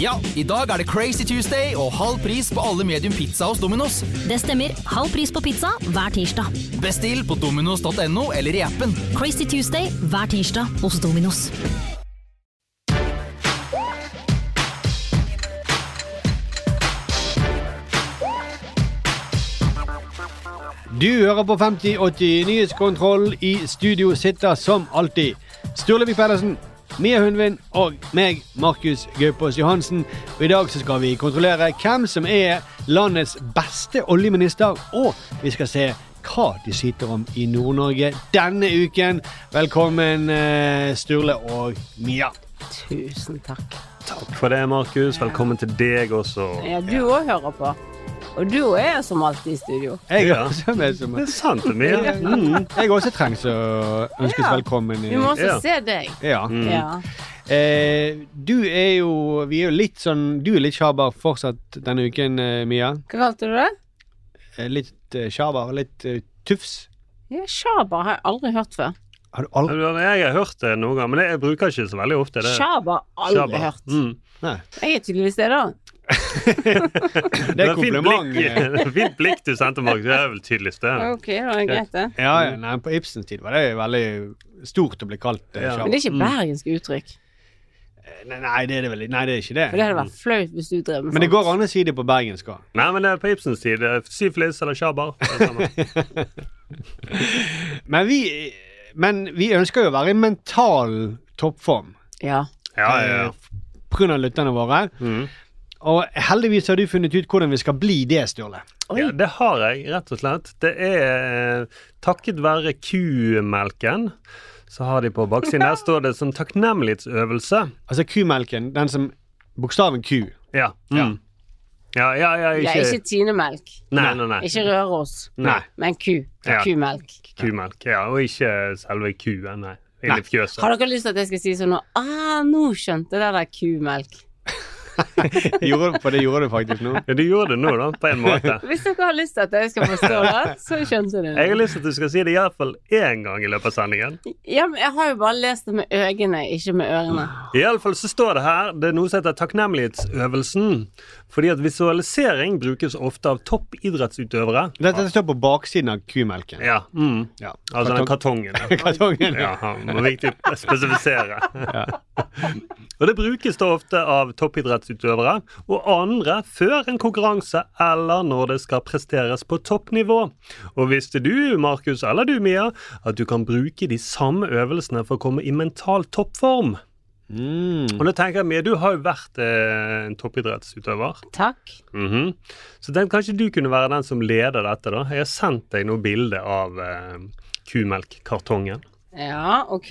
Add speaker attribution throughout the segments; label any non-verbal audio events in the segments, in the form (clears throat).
Speaker 1: Ja, i dag er det Crazy Tuesday og halv pris på alle medium pizza hos Domino's.
Speaker 2: Det stemmer. Halv pris på pizza hver tirsdag.
Speaker 1: Bestill på dominos.no eller i appen.
Speaker 2: Crazy Tuesday hver tirsdag hos Dominos.
Speaker 3: Du hører på 5080 Nyhetskontroll. I studio sitter som alltid Sturlevik Pedersen, Mia Hundvin og meg, Markus Gaupås Johansen. Og I dag så skal vi kontrollere hvem som er landets beste oljeminister, og vi skal se hva de syter om i Nord-Norge denne uken. Velkommen, eh, Sturle og Mia.
Speaker 4: Tusen takk.
Speaker 5: Takk for det, Markus. Velkommen til deg også.
Speaker 4: Ja, du òg hører på. Og du òg er som alltid i studio.
Speaker 3: Jeg
Speaker 5: Ja.
Speaker 3: også med som
Speaker 5: Det er sant, Mia. Mm.
Speaker 3: (laughs) jeg også trengs å ønskes
Speaker 4: Ja.
Speaker 3: velkommen. i-
Speaker 4: Vi må også
Speaker 5: Ja. Mm.
Speaker 4: se deg.
Speaker 3: Ja.
Speaker 4: Ja.
Speaker 3: Eh, du er jo Vi er jo litt sånn Du er litt sjaber fortsatt denne uken, eh, Mia.
Speaker 4: Hva kalte du det?
Speaker 3: Eh, litt eh, sjaber, litt eh, tufs.
Speaker 4: Ja, Shaber har jeg aldri hørt før.
Speaker 3: Har du aldri
Speaker 5: Jeg har hørt det noen ganger, men jeg bruker ikke så veldig ofte det.
Speaker 4: Shaber aldri
Speaker 5: Shaba.
Speaker 4: hørt.
Speaker 5: Mm.
Speaker 3: Nei.
Speaker 4: Jeg er tydeligvis det, da.
Speaker 3: Det er
Speaker 5: var fint
Speaker 3: kompliment. eh.
Speaker 5: blikk- (laughs) Fint blikk du sendte, Markus. Det er vel tydeligst det.
Speaker 4: Ok, da er det greit, det.
Speaker 3: Ja, ja, nei, på Ibsens tid var det veldig stort å bli kalt eh,
Speaker 5: Ja.
Speaker 3: sjaber. Eh,
Speaker 4: Men det er ikke bergensk uttrykk.
Speaker 3: Nei, nei, det er det vel Nei, det er ikke det.
Speaker 4: For det hadde
Speaker 5: Mm.
Speaker 4: vært flaut hvis du drev med
Speaker 3: Men det
Speaker 4: sånt.
Speaker 3: går an å si det på bergensk òg.
Speaker 5: Nei, men det er på Ibsens tid. det er Syfilis eller sjabar. det er det samme.
Speaker 3: (laughs) Men, vi- men vi ønsker jo å være i mental toppform
Speaker 4: Ja.
Speaker 5: Ja, ja, ja.
Speaker 3: pga. lytterne våre.
Speaker 5: Mm.
Speaker 3: Og heldigvis har du funnet ut hvordan vi skal bli det, Sturle.
Speaker 5: Ja, det har jeg, rett og slett. Det er eh, takket være kumelken, så har de på baksiden her står det som takknemlighetsøvelse.
Speaker 3: Altså kumelken, den som Bokstaven
Speaker 5: (laughs)
Speaker 3: Q.
Speaker 5: Ja. Mm. Ja, ja, ja,
Speaker 4: Ja,
Speaker 5: ikke,
Speaker 4: ikke tinemelk.
Speaker 5: Nei, nei, nei.
Speaker 4: Ikke Røros.
Speaker 5: Nei.
Speaker 4: Men ku.
Speaker 5: Ja.
Speaker 4: Kumelk.
Speaker 5: Kumelk, ja. Og ikke selve kuen, nei. Inni
Speaker 3: Nei.
Speaker 5: fjøset.
Speaker 4: Har dere lyst til at jeg skal si sånn nå Ah, nå skjønte jeg det der kumelk.
Speaker 3: Gjorde, for det gjorde du faktisk nå.
Speaker 5: Ja, du gjorde det nå, da, på en måte.
Speaker 4: (laughs) Hvis dere har lyst til at jeg skal forstå det, så skjønte dere det.
Speaker 5: Jeg har lyst til at du skal si det iallfall én gang i løpet av sendingen.
Speaker 4: Ja, men jeg har jo bare lest det med øynene, ikke med ørene.
Speaker 5: Iallfall så står det her det er noe som heter takknemlighetsøvelsen. Fordi at visualisering brukes ofte av toppidrettsutøvere.
Speaker 3: Dette står på baksiden av kumelken.
Speaker 5: Ja. Mm.
Speaker 3: Ja.
Speaker 5: Altså den kartongen. ja.
Speaker 3: Kartongen.
Speaker 5: (laughs) Ja, det var viktig å spesifisere. (laughs) og det brukes da ofte av toppidrettsutøvere og andre før en konkurranse eller når det skal presteres på toppnivå. Og visste du, Markus eller du, Mia, at du kan bruke de samme øvelsene for å komme i mental toppform?
Speaker 3: Mm.
Speaker 5: Og nå tenker jeg, Mia, du har jo vært eh, en toppidrettsutøver.
Speaker 4: Takk.
Speaker 5: Mhm. Så den, kanskje du kunne være den som leder dette, da. Jeg har sendt deg noe bilde av eh, kumelkkartongen.
Speaker 4: Ja, ok.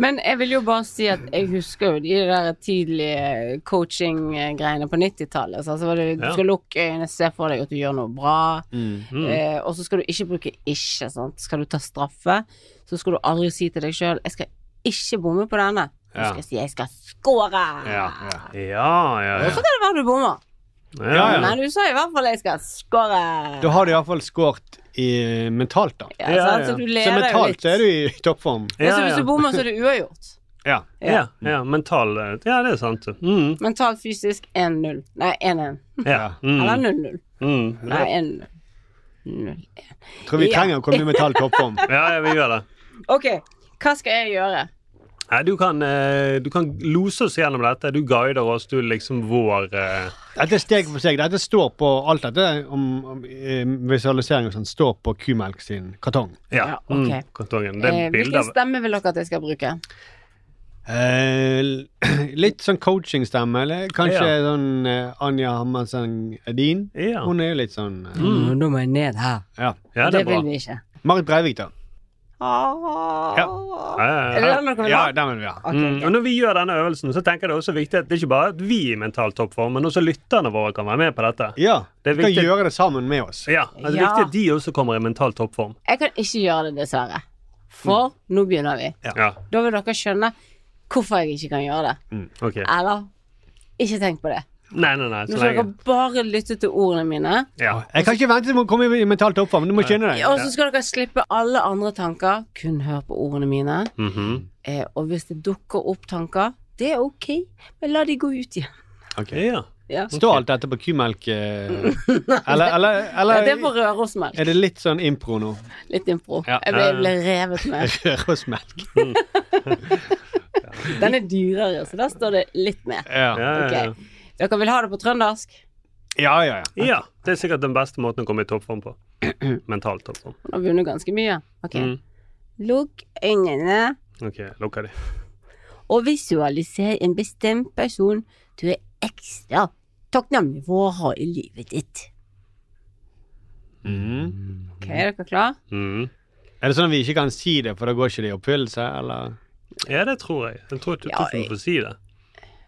Speaker 4: Men jeg vil jo bare si at jeg husker jo de der tidlige coaching-greiene på 90-tallet. Så altså var det, du
Speaker 5: Ja. Mhm.
Speaker 4: skal lukke øynene, se for deg at du gjør noe bra, eh, og så skal du ikke bruke ikke, sant. Skal du ta straffe, så skal du aldri si til deg sjøl 'jeg skal ikke bomme på denne'. Du
Speaker 3: Ja.
Speaker 4: skal si 'jeg skal score'.
Speaker 3: Ja, ja.
Speaker 5: Ja, ja, ja.
Speaker 4: Så kan det være du bommer.
Speaker 5: Ja, ja.
Speaker 4: Men du sa i hvert fall 'jeg skal score'.
Speaker 3: Da har du iallfall skåret i, eh, mentalt, da.
Speaker 4: Ja,
Speaker 5: Ja,
Speaker 4: sant?
Speaker 5: ja.
Speaker 4: Så du
Speaker 3: Så
Speaker 4: lever jo
Speaker 3: mentalt
Speaker 4: litt.
Speaker 3: så er du i toppform.
Speaker 4: Ja, så
Speaker 5: Ja,
Speaker 4: Altså, hvis
Speaker 5: ja.
Speaker 4: du bommer, så er det uavgjort.
Speaker 3: Ja.
Speaker 5: (laughs) Ja, ja, mental eh, Ja, det er sant. Mm,
Speaker 4: Mentalt fysisk 1-0. Nei, 1-1.
Speaker 5: ja. Mm,
Speaker 4: Eller 0-0.
Speaker 5: mm.
Speaker 4: Nei, 1-0. 0-1.
Speaker 3: Tror vi
Speaker 4: Ja.
Speaker 3: trenger å komme i mental toppform.
Speaker 4: (laughs)
Speaker 5: Ja, ja, vi gjør det.
Speaker 4: OK, hva skal jeg gjøre?
Speaker 5: Nei, du kan, eh, du kan lose oss gjennom dette. Du guider oss. Du er liksom vår eh,
Speaker 3: Dette er steg for steg. Dette står på alt dette om, om eh, visualisering og sånn, står på Kumelk sin kartong.
Speaker 4: Ja,
Speaker 5: Ja,
Speaker 4: ok.
Speaker 5: mm, kartongen. Det er
Speaker 4: Eh,
Speaker 5: bilde
Speaker 4: hvilken
Speaker 5: av
Speaker 4: stemme vil dere at jeg skal bruke?
Speaker 3: Eh, l- (clears throat) litt sånn coachingstemme, eller kanskje
Speaker 5: Ja.
Speaker 3: sånn eh, Anja Hammerseng Edin?
Speaker 5: Ja. Mm.
Speaker 3: Hun er jo litt sånn eh,
Speaker 4: Mm, Nå må jeg ned her.
Speaker 3: Ja.
Speaker 5: Ja, det er bra.
Speaker 4: vil vi ikke.
Speaker 3: Marit Breivik, da.
Speaker 4: Ah,
Speaker 5: Ja, ja,
Speaker 4: Er det
Speaker 5: ja.
Speaker 4: den dere vil ha?
Speaker 3: Ja, den vil vi ha.
Speaker 5: Mm, og når vi gjør denne øvelsen, så tenker jeg det er også viktig at det er ikke bare at vi er i mental toppform, men også lytterne våre kan være med på dette.
Speaker 3: Ja,
Speaker 5: Det er
Speaker 3: vi kan
Speaker 5: viktig.
Speaker 3: gjøre det sammen med oss.
Speaker 5: Ja, altså Det er
Speaker 4: Ja.
Speaker 5: viktig at de også kommer i mental toppform. Mm.
Speaker 4: Jeg kan ikke gjøre det, dessverre. For nå begynner vi.
Speaker 5: Ja, Mm,
Speaker 4: Da vil dere skjønne hvorfor jeg ikke kan gjøre det.
Speaker 5: ok.
Speaker 4: Eller ikke tenk på det.
Speaker 5: Nei, nei, nei,
Speaker 4: Nå
Speaker 5: så
Speaker 4: skal
Speaker 5: lenge.
Speaker 4: dere bare lytte til ordene mine.
Speaker 5: Ja.
Speaker 3: Jeg kan ikke vente til å komme i mental toppform. Du må skjønne det.
Speaker 4: Og så skal dere slippe alle andre tanker. Kun hør på ordene mine.
Speaker 5: Mhm.
Speaker 4: Eh, og hvis det dukker opp tanker, det er ok, men la de gå ut igjen.
Speaker 5: ja.
Speaker 4: Ja.
Speaker 3: Står alt dette på kumelk
Speaker 4: (laughs)
Speaker 3: eh, Eller, eller,
Speaker 4: Ja, det er på
Speaker 3: eller
Speaker 4: Rørosmelk.
Speaker 3: er det litt sånn
Speaker 5: (laughs)
Speaker 3: impro nå?
Speaker 4: Litt impro.
Speaker 3: Ja.
Speaker 4: Jeg ble, jeg ble revet med.
Speaker 3: Rørosmelk.
Speaker 4: Den er dyrere, så der står det litt med.
Speaker 3: Ja.
Speaker 5: Ja, ja, ja.
Speaker 4: Ok. Dere vil ha det på trøndersk?
Speaker 3: ja, ja. ja.
Speaker 5: ja, det er sikkert den beste måten å komme i toppform på. Mental toppform.
Speaker 4: Hun har vunnet ganske mye. Ok.
Speaker 5: Mm.
Speaker 4: Lukk øynene
Speaker 5: Ok, lukker de.
Speaker 4: og visualiser en bestemt person du er ekstra takknemlig for å ha i livet ditt. Ok, er dere klar?
Speaker 5: Mhm.
Speaker 3: Er det sånn at vi ikke kan si det, for da går ikke det i oppfyllelse? Eller?
Speaker 5: Ja, det tror jeg. Jeg tror ikke
Speaker 4: Ja,
Speaker 5: du
Speaker 4: jeg-
Speaker 5: får si det.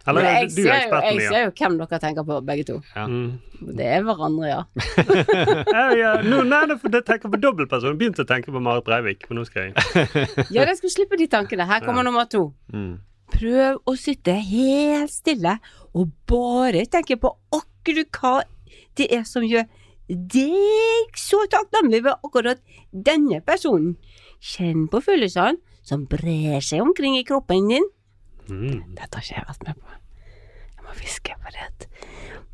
Speaker 5: Eller du
Speaker 4: Men
Speaker 5: er
Speaker 4: ser jo,
Speaker 5: eksperten,
Speaker 4: jeg
Speaker 5: ja.
Speaker 4: ser jo hvem dere tenker på, begge to.
Speaker 5: Mm.
Speaker 4: Det er hverandre,
Speaker 5: (laughs)
Speaker 4: ja.
Speaker 5: Ja, ja. Nå, nei, det, det tenker jeg på dobbeltperson. Begynte å tenke på Marit Breivik, men nå skal jeg
Speaker 4: Ja, jeg skulle slippe de tankene. Her kommer nummer to.
Speaker 5: Mm.
Speaker 4: Prøv å sitte helt stille og bare tenke på akkurat hva det er som gjør deg så takknemlig ved akkurat denne personen. Kjenn på følelsene som brer seg omkring i kroppen din.
Speaker 5: mm.
Speaker 4: Dette har ikke jeg vært med på. Jeg må hviske på det at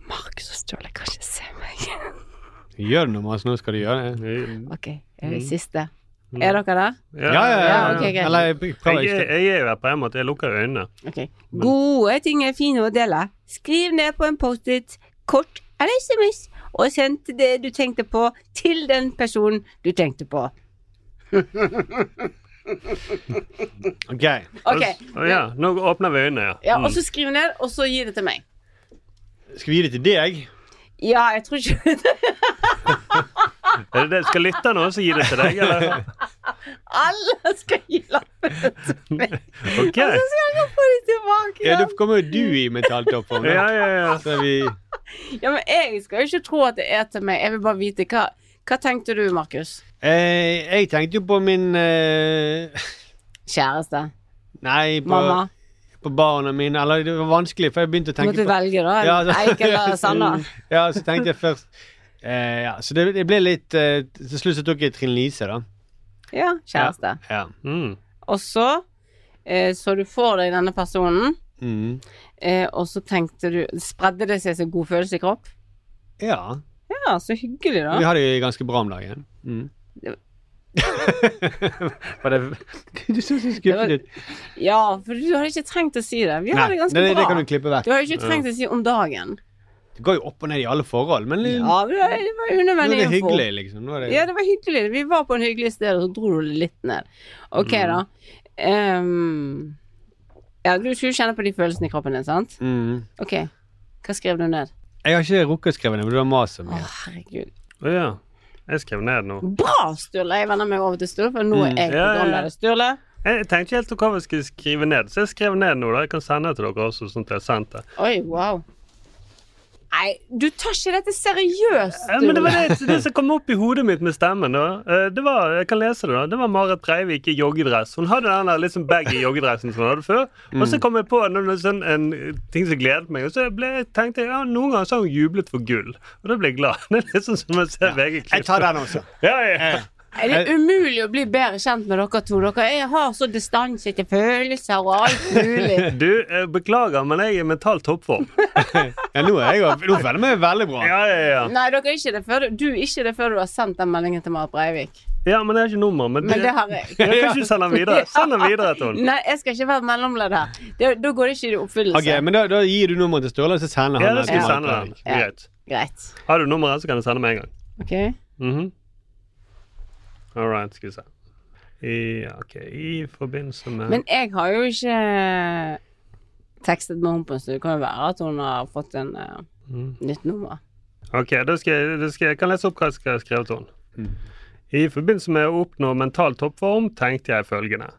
Speaker 4: Markus og Ståle kan ikke se meg. (laughs)
Speaker 3: Gjør det nå, Mats. Nå skal du gjøre det.
Speaker 4: Ok, eh, siste. Er dere der?
Speaker 3: Ja, ja, ja.
Speaker 4: Ja, ok, greit.
Speaker 3: Eller jeg prøver
Speaker 5: Jeg,
Speaker 3: ikke.
Speaker 5: er- jeg er jo her på en måte. Jeg lukker øynene.
Speaker 4: Ok. Gode ting er fine å dele. Skriv ned på en Post-It, kort eller SMS, og send det du tenkte på, til den personen du tenkte på.
Speaker 3: Ok.
Speaker 4: Ok,
Speaker 5: Ja, nå åpner vi øynene, ja. Mm.
Speaker 4: ja, Og så skriv ned, og så gi det til meg.
Speaker 3: Skal vi gi det til deg?
Speaker 4: Ja, jeg tror (laughs) ikke
Speaker 5: Er det det? Skal lytterne også gi det til deg, eller?
Speaker 4: (laughs) alle skal gi lappen til meg.
Speaker 5: Ok.
Speaker 4: Og så skal jeg få det tilbake.
Speaker 3: Ja,
Speaker 4: igjen.
Speaker 3: da kommer jo du i mental toppform.
Speaker 5: Ja,
Speaker 3: da.
Speaker 5: ja, ja.
Speaker 3: Så vi
Speaker 4: Ja, men Jeg skal jo ikke tro at det er til meg. Jeg vil bare vite hva Hva tenkte du, Markus?
Speaker 3: eh, Jeg tenkte jo på min eh, (laughs)
Speaker 4: Kjæreste?
Speaker 3: Nei, på,
Speaker 4: Mamma?
Speaker 3: på barna mine. Eller det var vanskelig, for jeg begynte å
Speaker 4: Må
Speaker 3: tenke
Speaker 4: du
Speaker 3: på
Speaker 4: velge, da? Mm.
Speaker 3: Ja, da-
Speaker 4: Eik (laughs)
Speaker 3: (laughs)
Speaker 4: eller Sanna?
Speaker 3: Ja, så tenkte jeg først eh, ja, Så det, det ble litt eh, Til slutt så tok jeg Trine Lise, da.
Speaker 4: Ja, kjæreste.
Speaker 3: Ja.
Speaker 5: Mm.
Speaker 4: Og så eh, så du for deg denne personen,
Speaker 3: Mm.
Speaker 4: eh, og så tenkte du Spredde det seg som god følelse i kropp?
Speaker 3: ja.
Speaker 4: Ja, så hyggelig,
Speaker 3: Vi
Speaker 4: da.
Speaker 3: har det jo ganske bra om dagen. Mm.
Speaker 4: Det-
Speaker 3: (laughs) Var det (laughs) Du så så
Speaker 4: Det var-
Speaker 3: skuffet ut.
Speaker 4: Ja, for du hadde ikke trengt å si det. Vi har det ganske
Speaker 3: det, det
Speaker 4: bra.
Speaker 3: kan du klippe vekk.
Speaker 4: Du har jo ikke trengt å si om dagen.
Speaker 3: Det går jo opp og ned i alle forhold, men litt-
Speaker 4: Ja, det var- det var
Speaker 3: Mm. nå
Speaker 4: unødvendig
Speaker 3: er det
Speaker 4: info.
Speaker 3: hyggelig, liksom. Nå er det,
Speaker 4: Ja, det var hyggelig. Vi var på en hyggelig sted, og så dro du det litt ned. Ok,
Speaker 3: Mm.
Speaker 4: da. Ehm, ja, du skulle kjenne på de følelsene i kroppen din, sant?
Speaker 3: mm.
Speaker 4: Ok, hva skrev du ned?
Speaker 3: Jeg har ikke rukket å skrive det, men du har mast så
Speaker 4: Å,
Speaker 3: mye.
Speaker 4: herregud.
Speaker 5: Å, ja. Jeg skrev ned nå.
Speaker 4: Bra, Sturle! Jeg vender meg over til Sturle, for nå er
Speaker 5: Ja,
Speaker 4: jeg
Speaker 5: ja, ja.
Speaker 4: programleder. Sturle?
Speaker 5: Jeg tenkte ikke helt på hva vi skulle skrive ned, så jeg skrev ned nå. da. Jeg kan sende det til dere også, sånn at jeg har sendt det.
Speaker 4: Oi, wow. Nei, du tar ikke dette seriøst,
Speaker 5: Eh, Men det var
Speaker 4: Sturle.
Speaker 5: det, det som kom opp i hodet mitt med stemmen. da. Eh, Det var, jeg kan lese det da. Det var Marit Breivik i joggedress. Hun hadde den der liksom baggy joggedressen som hun hadde før. Og så kom jeg på noe sånn, en ting som gledet meg. Og så ble, jeg- tenkte jeg ja, noen ganger så har hun jublet for gull. Og da ble jeg glad. Det er litt sånn som å se
Speaker 3: Jeg
Speaker 5: VG-klipp.
Speaker 3: tar den også.
Speaker 5: Ja, ja.
Speaker 4: Er det umulig å bli bedre kjent med dere to? Dere er- har så distanse til følelser og alt
Speaker 5: (laughs)
Speaker 4: mulig.
Speaker 5: Du, eh, beklager, men jeg er i mental toppform.
Speaker 3: Ja, nå er jeg jo Nå føler jeg meg veldig bra.
Speaker 5: Ja, ja, ja.
Speaker 4: Nei, dere er ikke det før du, du er ikke det før du har sendt den meldingen til Marit Breivik.
Speaker 5: Ja, men jeg har ikke nummer. Men,
Speaker 4: Men det
Speaker 5: har...
Speaker 4: har
Speaker 5: jeg
Speaker 4: jeg.
Speaker 5: kan ikke sende den
Speaker 4: (laughs)
Speaker 5: videre. Send den videre til henne.
Speaker 4: Nei, jeg skal ikke være mellomledd her. Da, da går det ikke i oppfyllelse.
Speaker 3: Ok, men da, da gir du nummeret til Sturle, og så sender
Speaker 5: Ja,
Speaker 3: han
Speaker 5: da skal jeg
Speaker 4: Ja.
Speaker 5: sende den.
Speaker 4: Ja.
Speaker 5: Greit.
Speaker 4: Greit.
Speaker 5: Har du nummeret, så kan jeg sende med en gang.
Speaker 4: Ok.
Speaker 5: Mhm. All right, skal vi se. I, ja, ok, I forbindelse med
Speaker 4: Men jeg har jo ikke tekstet med henne på en stund. Det kan jo være at hun har fått en eh, nytt nummer.
Speaker 5: Ok, da skal jeg, da skal jeg, kan jeg lese opp hva jeg skal skrive til henne. I forbindelse med å oppnå mental toppform tenkte jeg følgende.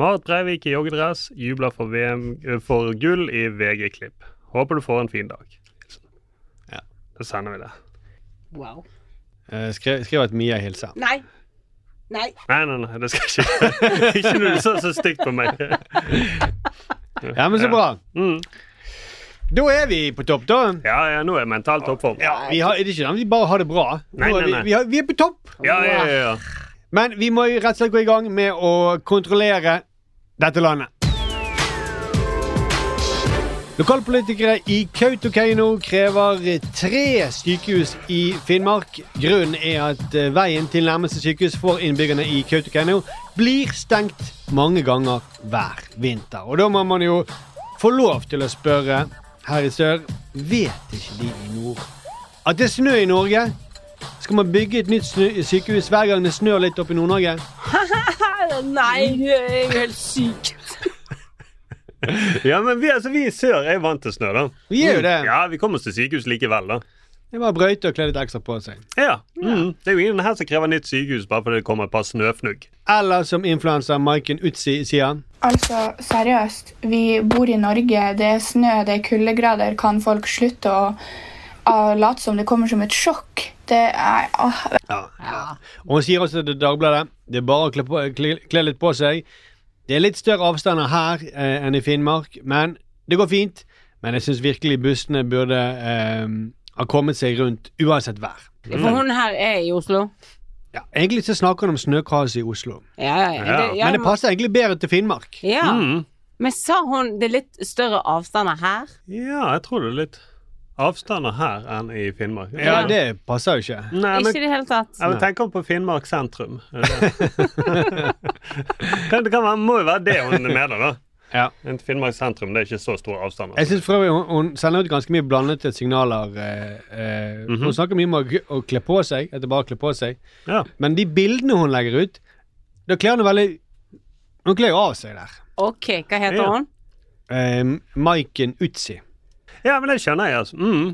Speaker 5: Marit Breivik i joggedress jubler for, VM, eh, for gull i VG-klipp. Håper du får en fin dag.
Speaker 3: Ja.
Speaker 5: Da sender vi det.
Speaker 4: Wow.
Speaker 3: Eh, Skriv, skriv at Mia hilser.
Speaker 4: Nei. Nei.
Speaker 5: Nei, nei, nei, det skal jeg ikke (laughs) Ikke når du så så stygt på meg.
Speaker 3: Ja, men så bra.
Speaker 5: Mm.
Speaker 3: Da er vi på topp, da.
Speaker 5: Ja, ja, nå er mental toppform.
Speaker 3: Vi har, det er ikke sånn at vi bare har det bra.
Speaker 5: Nei,
Speaker 3: Nå er
Speaker 5: nei, nei.
Speaker 3: Vi, vi, har, vi er på topp.
Speaker 5: Ja, ja, ja, ja.
Speaker 3: Men vi må jo rett og slett gå i gang med å kontrollere dette landet. Lokalpolitikere i Kautokeino krever tre sykehus i Finnmark. Grunnen er at eh, veien til nærmeste sykehus for innbyggerne i Kautokeino blir stengt mange ganger hver vinter. Og da må man jo få lov til å spørre her i sør Vet ikke de i nord at det er snø i Norge? Skal man bygge et nytt snø sykehus hver gang det snør litt opp i Nord-Norge?
Speaker 4: Nei, jeg er jo helt syk.
Speaker 5: ja men vi, altså, vi i sør er vant til snø, da.
Speaker 3: Vi er jo det.
Speaker 5: Ja, Vi kommer oss til sykehus likevel, da.
Speaker 3: Det er bare å brøyte og kle litt ekstra på seg.
Speaker 5: Ja. Mm. Det er jo ingen her som krever nytt sykehus bare fordi det kommer et par snøfnugg.
Speaker 3: Eller som influenser Maiken Utsi sier
Speaker 6: Altså, seriøst. Vi bor i Norge. Det er snø, det er kuldegrader. Kan folk slutte å å late som det kommer som et sjokk? Det er åh,
Speaker 3: Og hun sier også til Dagbladet det er bare å kle, på, kle, kle litt på seg. Det er litt større avstander her eh, enn i Finnmark, men det går fint. Men jeg syns virkelig bussene burde eh, ha kommet seg rundt uansett vær.
Speaker 4: For hun her er i Oslo.
Speaker 3: Ja, egentlig så snakker han om snøkaoset i Oslo,
Speaker 4: Ja, ja, ja. Det, ja,
Speaker 3: men det passer egentlig bedre til Finnmark.
Speaker 4: Ja.
Speaker 5: Mm.
Speaker 4: Men sa hun det er litt større avstander her?
Speaker 5: Ja, jeg tror det er litt avstander her enn i Finnmark.
Speaker 3: Ja, det passer jo ikke.
Speaker 5: Nei, men
Speaker 4: ikke i det hele tatt.
Speaker 5: jeg tenker på Finnmark sentrum. (laughs) Er Det Kan- det kan være, må jo være det hun mener, da.
Speaker 3: Ja.
Speaker 5: Men Finnmark sentrum det er ikke så altså. store avstander.
Speaker 3: Jeg synes for øvrig hun, hun sender ut ganske mye blandede signaler. Eh, eh, Hun snakker mye om å, å kle på seg, at det bare er å kle på seg.
Speaker 5: Ja.
Speaker 3: Men de bildene hun legger ut, da kler hun veldig Hun kler jo av seg der.
Speaker 4: Ok, hva heter
Speaker 5: Ja.
Speaker 4: hun?
Speaker 3: Eh, Maiken Utsi.
Speaker 5: ja, men det skjønner jeg, altså. Mm.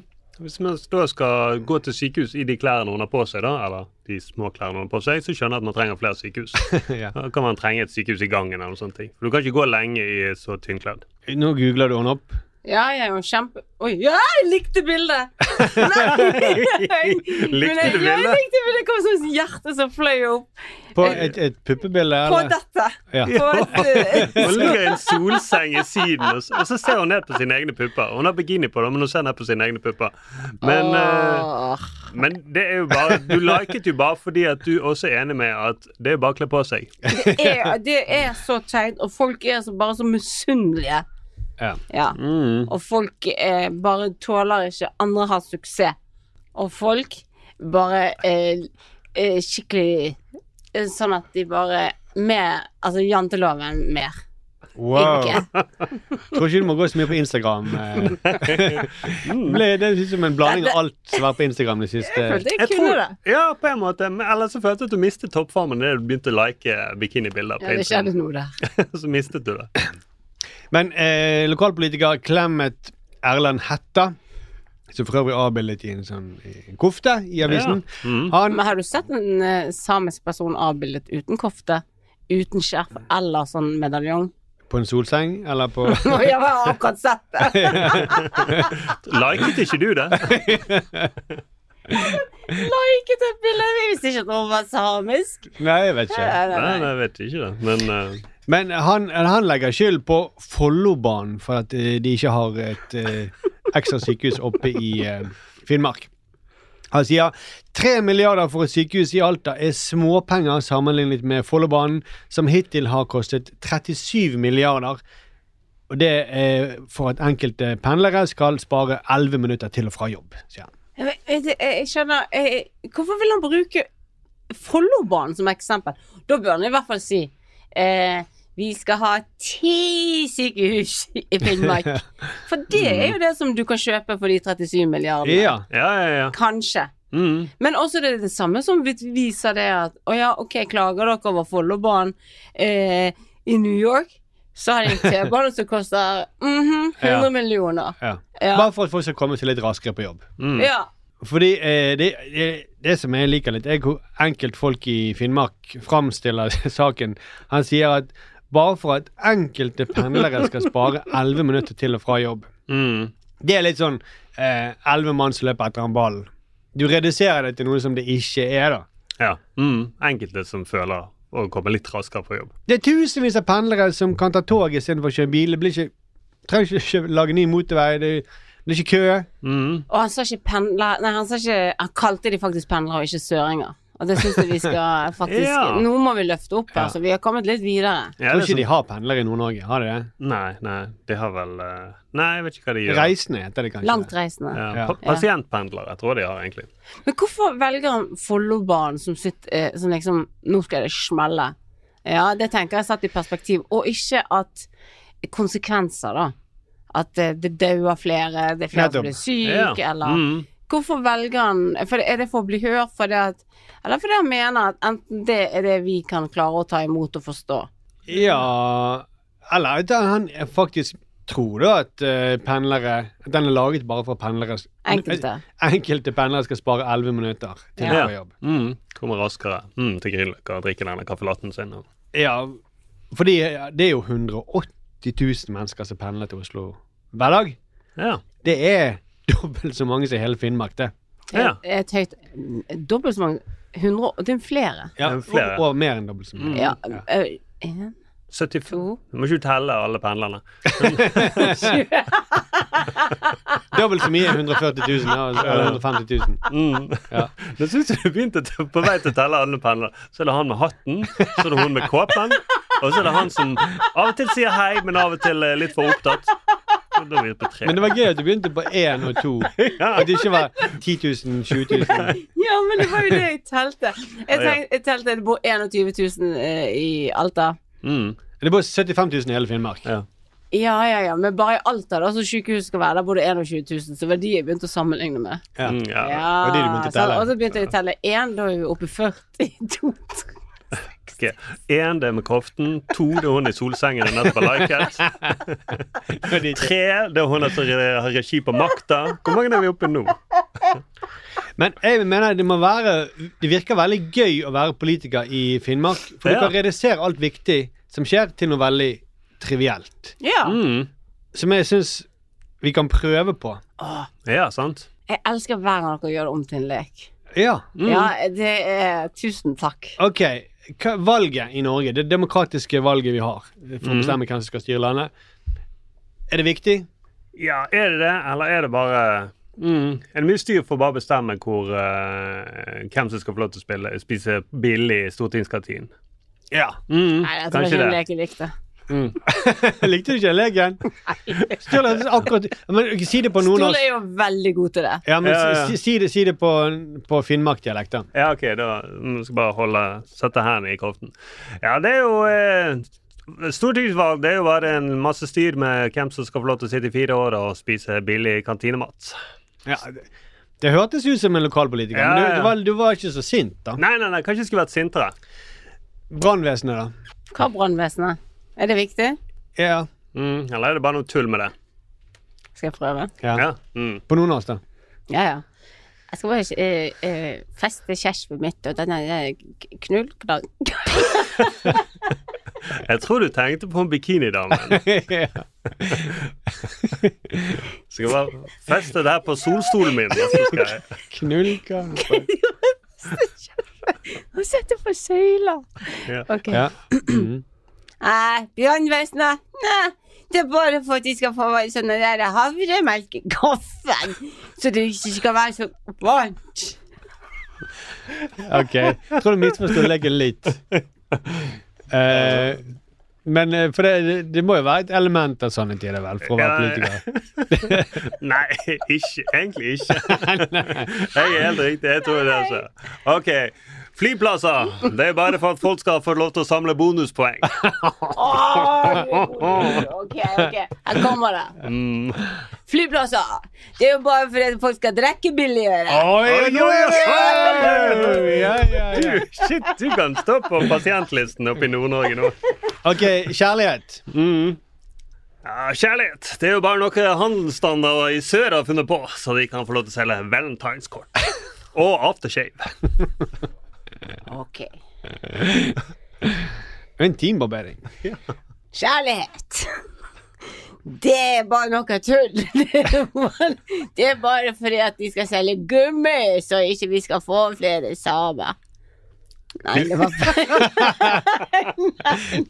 Speaker 5: Hvis man da skal gå til sykehus i de klærne hun har på seg, da, eller de små klærne hun har på seg, så skjønner jeg at man trenger flere sykehus.
Speaker 3: (laughs) ja.
Speaker 5: Da kan man trenge et sykehus i gangen eller noe sånt. For du kan ikke gå lenge i så tynnkledd.
Speaker 3: Nå googler du henne opp.
Speaker 4: Ja, jeg er jo kjempe... Oi, ja, jeg likte
Speaker 5: (laughs)
Speaker 4: bildet! Nei! Men
Speaker 5: Likte
Speaker 4: jeg-
Speaker 5: du
Speaker 4: Ja, jeg
Speaker 5: bildet?
Speaker 4: likte bildet. Det kom som et hjerte som fløy opp.
Speaker 3: På et, et puppebilde,
Speaker 4: På
Speaker 3: eller?
Speaker 4: dette.
Speaker 3: Ja.
Speaker 5: (laughs)
Speaker 4: På et, eh,
Speaker 5: Hun ligger i en solseng i siden, og så, og så ser hun ned på sine egne pupper. Hun har bikini på, da, men hun ser ned på sine egne pupper. Men, eh,
Speaker 4: Åh.
Speaker 5: men det er jo bare Du liket jo bare fordi at du også er enig med at det er bare å kle på seg.
Speaker 4: Det er, det er så teit, og folk er så, bare så misunnelige.
Speaker 3: Ja.
Speaker 4: Ja.
Speaker 5: Mm.
Speaker 4: Og folk eh, bare tåler ikke andre har suksess. Og folk bare eh, eh, skikkelig eh, Sånn at de bare mer, Altså janteloven mer.
Speaker 3: Wow.
Speaker 4: Ikke.
Speaker 3: Tror ikke du må gå så mye på Instagram. Eh. (laughs) Ble, det synes som en blanding av alt som har vært på Instagram de siste
Speaker 4: Det
Speaker 5: Eh, Jeg
Speaker 4: kunne
Speaker 5: tror-
Speaker 4: det.
Speaker 5: Ja, på en måte. Men ellers så følte jeg at du mistet toppformen da du begynte å like eh, bikinibilder. på
Speaker 4: Ja, det skjedde
Speaker 5: Instagram.
Speaker 4: noe der.
Speaker 5: (laughs) Så mistet du det.
Speaker 3: Men eh, lokalpolitiker Clemet Erland Hætta, som for øvrig er avbildet i en sånn i en kofte i avisen Han
Speaker 4: Men har du sett en eh, samisk person avbildet uten kofte? Uten skjerf eller sånn (laughs) medaljong?
Speaker 3: på en solseng, eller på
Speaker 4: Jeg har akkurat sett det.
Speaker 5: (laughs) Liket ikke du det?
Speaker 4: Liket et bilde. Jeg visste ikke at hun var samisk.
Speaker 3: Nei, jeg vet ikke.
Speaker 4: Nei, nei,
Speaker 5: Nei,
Speaker 4: nei.
Speaker 5: nei, jeg vet ikke det. Men eh,
Speaker 3: Men han, han legger skyld på Follobanen for at eh, de ikke har et eh, ekstra sykehus oppe i eh, Finnmark. Han sier tre milliarder for et sykehus i Alta er småpenger sammenlignet med Follobanen, som hittil har kostet 37 milliarder. Og det er for at enkelte pendlere skal spare 11 minutter til og fra jobb, sier han.
Speaker 4: eh, Jeg, vet- jeg, jeg skjønner jeg, Hvorfor vil han bruke Follobanen som eksempel. Da bør han i hvert fall si eh, vi skal ha ti sykehus i Finnmark. For det er jo det som du kan kjøpe for de 37 milliardene.
Speaker 3: Ja.
Speaker 5: Ja, ja, ja.
Speaker 4: Kanskje.
Speaker 5: Mm.
Speaker 4: Men også det, er det samme som vi- viser det at Å ja, ok, klager dere over Follobanen eh, i New York? Så har de en T-bane som koster mhm, 100
Speaker 3: Ja.
Speaker 4: millioner.
Speaker 3: ja.
Speaker 4: Ja.
Speaker 3: Bare for at folk skal komme seg litt raskere på jobb.
Speaker 5: Mm.
Speaker 4: Ja.
Speaker 3: Fordi eh, det, det- det som jeg liker litt, er hvor enkelt folk i Finnmark framstiller (laughs) saken. Han sier at bare for at enkelte pendlere skal spare 11 minutter til og fra jobb.
Speaker 5: Mm.
Speaker 3: Det er litt sånn eh, 11 mann som løper etter en ball. Du reduserer det til noe som det ikke er, da.
Speaker 5: ja. Mm. Enkelte som føler å komme litt raskere på jobb.
Speaker 3: Det er tusenvis av pendlere som kan ta tog istedenfor å kjøre bil. Det blir ikke, trenger ikke kjø- lage ny motorvei. Det blir ikke kø.
Speaker 5: Mm.
Speaker 4: Og han sa ikke pendler Nei, han sa ikke Han kalte de faktisk pendlere og ikke søringer. Og det syns jeg vi skal faktisk
Speaker 5: Ja.
Speaker 4: Nå må vi løfte opp her, så vi har kommet litt videre.
Speaker 5: Ja,
Speaker 3: Jeg
Speaker 5: det er
Speaker 3: tror ikke
Speaker 5: sånn-
Speaker 3: de har pendlere i Nord-Norge. Har de det?
Speaker 5: Nei, nei, de har vel eh, Nei, jeg vet ikke hva de gjør.
Speaker 3: Reisende heter det kanskje.
Speaker 4: Langtreisende.
Speaker 5: Ja,
Speaker 3: Ja.
Speaker 5: pa pasientpendlere tror jeg de har, egentlig.
Speaker 4: Men hvorfor velger han Follobanen som sitt eh, Som liksom Nå skal det smelle. Ja, det tenker jeg satt i perspektiv. Og ikke at konsekvenser, da. At eh, det dauer flere, det er flere
Speaker 3: Nettopp.
Speaker 4: som blir
Speaker 5: Ja.
Speaker 4: syke, eller
Speaker 5: Mm.
Speaker 4: Hvorfor velger han for Er det for å bli hørt for det at Eller fordi han mener at enten det er det vi kan klare å ta imot og forstå.
Speaker 3: Ja Eller at han faktisk tror da at eh, pendlere At den er laget bare for pendlere
Speaker 4: Enkelte.
Speaker 3: Enkelte pendlere skal spare 11 minutter til
Speaker 4: Ja.
Speaker 3: å
Speaker 5: Ja.
Speaker 3: få jobb.
Speaker 5: Mm. Kommer raskere mm, til Grünerløkka og drikker denne kaffelatten sin. Og...
Speaker 3: Ja, fordi eh, det er jo 180 000 mennesker som pendler til Oslo hver dag.
Speaker 5: Ja.
Speaker 3: Det er (laughs) dobbelt så mange som i hele Finnmark, det.
Speaker 4: Det
Speaker 5: Ja.
Speaker 4: er et høyt Dobbelt så mange 100 Det er flere.
Speaker 3: Ja,
Speaker 5: Det er
Speaker 3: og,
Speaker 5: flere.
Speaker 3: og mer enn dobbelt så mange.
Speaker 4: Ja. eh, En,
Speaker 5: 75
Speaker 4: to
Speaker 5: Du må ikke telle alle pendlerne.
Speaker 3: Dobbelt så mye er 140 000, ja, altså eller 150 000.
Speaker 5: Mm.
Speaker 3: Ja.
Speaker 5: Nå syns jeg du begynte til, på vei til å telle alle pendlerne. Så er det han med hatten, så er det hun med kåpen, og så er det han som av og til sier hei, men av og til er litt for opptatt. Og Da er vi på tre.
Speaker 3: Men det var gøy at du begynte på 1 og 2. At det ikke var 10 000, 20 000.
Speaker 4: Ja, men det var jo det jeg telte. Jeg, tenk, jeg telte det bor 21 000 eh, i Alta.
Speaker 5: Mm.
Speaker 3: Det bor 75 000 i hele Finnmark.
Speaker 5: Ja.
Speaker 4: Ja, ja, ja, men bare i Alta, da, som sykehuset skal være, der bor det 21 000. Så det var de jeg begynte å sammenligne med.
Speaker 3: Ja.
Speaker 5: Mm, ja.
Speaker 3: det var
Speaker 4: Ja,
Speaker 3: de du begynte å
Speaker 4: så-
Speaker 3: telle.
Speaker 4: Og så begynte jeg å telle én, da er vi oppe i 42
Speaker 5: Ok. En, det er med koften. To, det er hun i solsengen og nettopp har
Speaker 3: (laughs)
Speaker 5: liket. Tre, det er hun som har regi på makta. Hvor mange er vi oppe i nå?
Speaker 3: Men jeg mener det må være Det virker veldig gøy å være politiker i Finnmark. For
Speaker 5: Ja.
Speaker 3: du kan redusere alt viktig som skjer, til noe veldig trivielt.
Speaker 4: Ja.
Speaker 5: Mm.
Speaker 3: Som jeg syns vi kan prøve på.
Speaker 5: Ja, sant?
Speaker 4: Jeg elsker hver gang dere gjør det om til en lek.
Speaker 3: Ja.
Speaker 5: Mm.
Speaker 4: Ja, det er Tusen takk.
Speaker 3: OK. Hva, valget i Norge, det demokratiske valget vi har for å
Speaker 5: Mhm.
Speaker 3: bestemme hvem som skal styre landet, er det viktig? (laughs)
Speaker 5: Ja, er det det, eller er det bare mm, Er det mye styr for å bare bestemme hvor, eh, hvem som skal få lov til å spille, spise billig i stortingskantinen?
Speaker 3: Ja.
Speaker 5: Mm,
Speaker 4: Nei, jeg tror
Speaker 5: kanskje
Speaker 4: ikke en
Speaker 5: det.
Speaker 4: lek jeg likte.
Speaker 3: Likte du ikke leken? Sturle, akkurat Men ok, si det på noen av
Speaker 4: Stole
Speaker 3: oss.
Speaker 4: er jo veldig god til det.
Speaker 3: Ja, men
Speaker 5: Ja, ja, ja.
Speaker 3: si, si det, si det på, på finnmarkdialekt, da.
Speaker 5: Ja, OK, da mm, skal jeg bare holde, sette hendene i koften. Ja, det er jo eh, Stortingsvalg det er jo bare en masse styr med hvem som skal få lov til å sitte i fire år og spise billig kantinemat.
Speaker 3: Ja, det, det hørtes ut som en lokalpolitiker,
Speaker 5: Ja,
Speaker 3: men du,
Speaker 5: ja.
Speaker 3: du, var, du var ikke så sint, da.
Speaker 5: Nei, nei, nei, kanskje jeg skulle vært sintere.
Speaker 3: Brannvesenet, da?
Speaker 4: Hva er brannvesenet? Er det viktig?
Speaker 3: Ja.
Speaker 5: Mm, eller er det bare noe tull med det?
Speaker 4: Skal jeg prøve?
Speaker 3: ja.
Speaker 5: Ja. Mm.
Speaker 3: På noen av oss, da.
Speaker 4: Ja, ja. Jeg skal bare eh, eh, feste kjæreste mitt, og den er eh, knull knagg.
Speaker 5: (laughs) Jeg tror du tenkte på hun bikinidamen.
Speaker 3: (laughs) ja.
Speaker 5: Skal jeg bare feste det her på solstolen
Speaker 4: (laughs)
Speaker 5: min. og Så skal jeg
Speaker 3: Knullka
Speaker 4: Hun sitter på søyla.
Speaker 5: Ja.
Speaker 4: Ok.
Speaker 3: ja. Mhm.
Speaker 4: Nei, brannvesenet. Nei, det er bare for at de skal få være sånne der havremelkekoffen, så det ikke skal være så varmt.
Speaker 3: OK. Jeg tror du misforsto leken (laughs) litt. Eh, men eh, for det, det må jo være et element av sånne tider, vel, for å være
Speaker 5: Ja, ja.
Speaker 3: politiker.
Speaker 5: Nei, ikke, egentlig ikke. Jeg er helt riktig. Jeg tror det, altså. OK. Flyplasser! Det er bare for at folk skal få lov til å samle bonuspoeng.
Speaker 4: Oi, OK, ok. Her kommer det.
Speaker 5: Mm.
Speaker 4: Flyplasser. Det er jo bare for at folk skal drikke billigere.
Speaker 3: Oi, nå er det Oi, ja, ja,
Speaker 5: Du,
Speaker 3: ja.
Speaker 5: shit, du kan stå på pasientlisten oppe i Nord-Norge nå.
Speaker 3: OK, kjærlighet.
Speaker 5: Ja, kjærlighet. Det er jo bare noe handelsstandarder i sør har funnet på, så de kan få lov til å selge valentineskort. Og aftershave.
Speaker 4: OK.
Speaker 3: Intimbarbering.
Speaker 4: Kjærlighet. Det er bare noe tull. (laughs) Det er bare- Det er bare fordi at de skal selge gummi, så ikke vi skal få flere samer. Nei, det var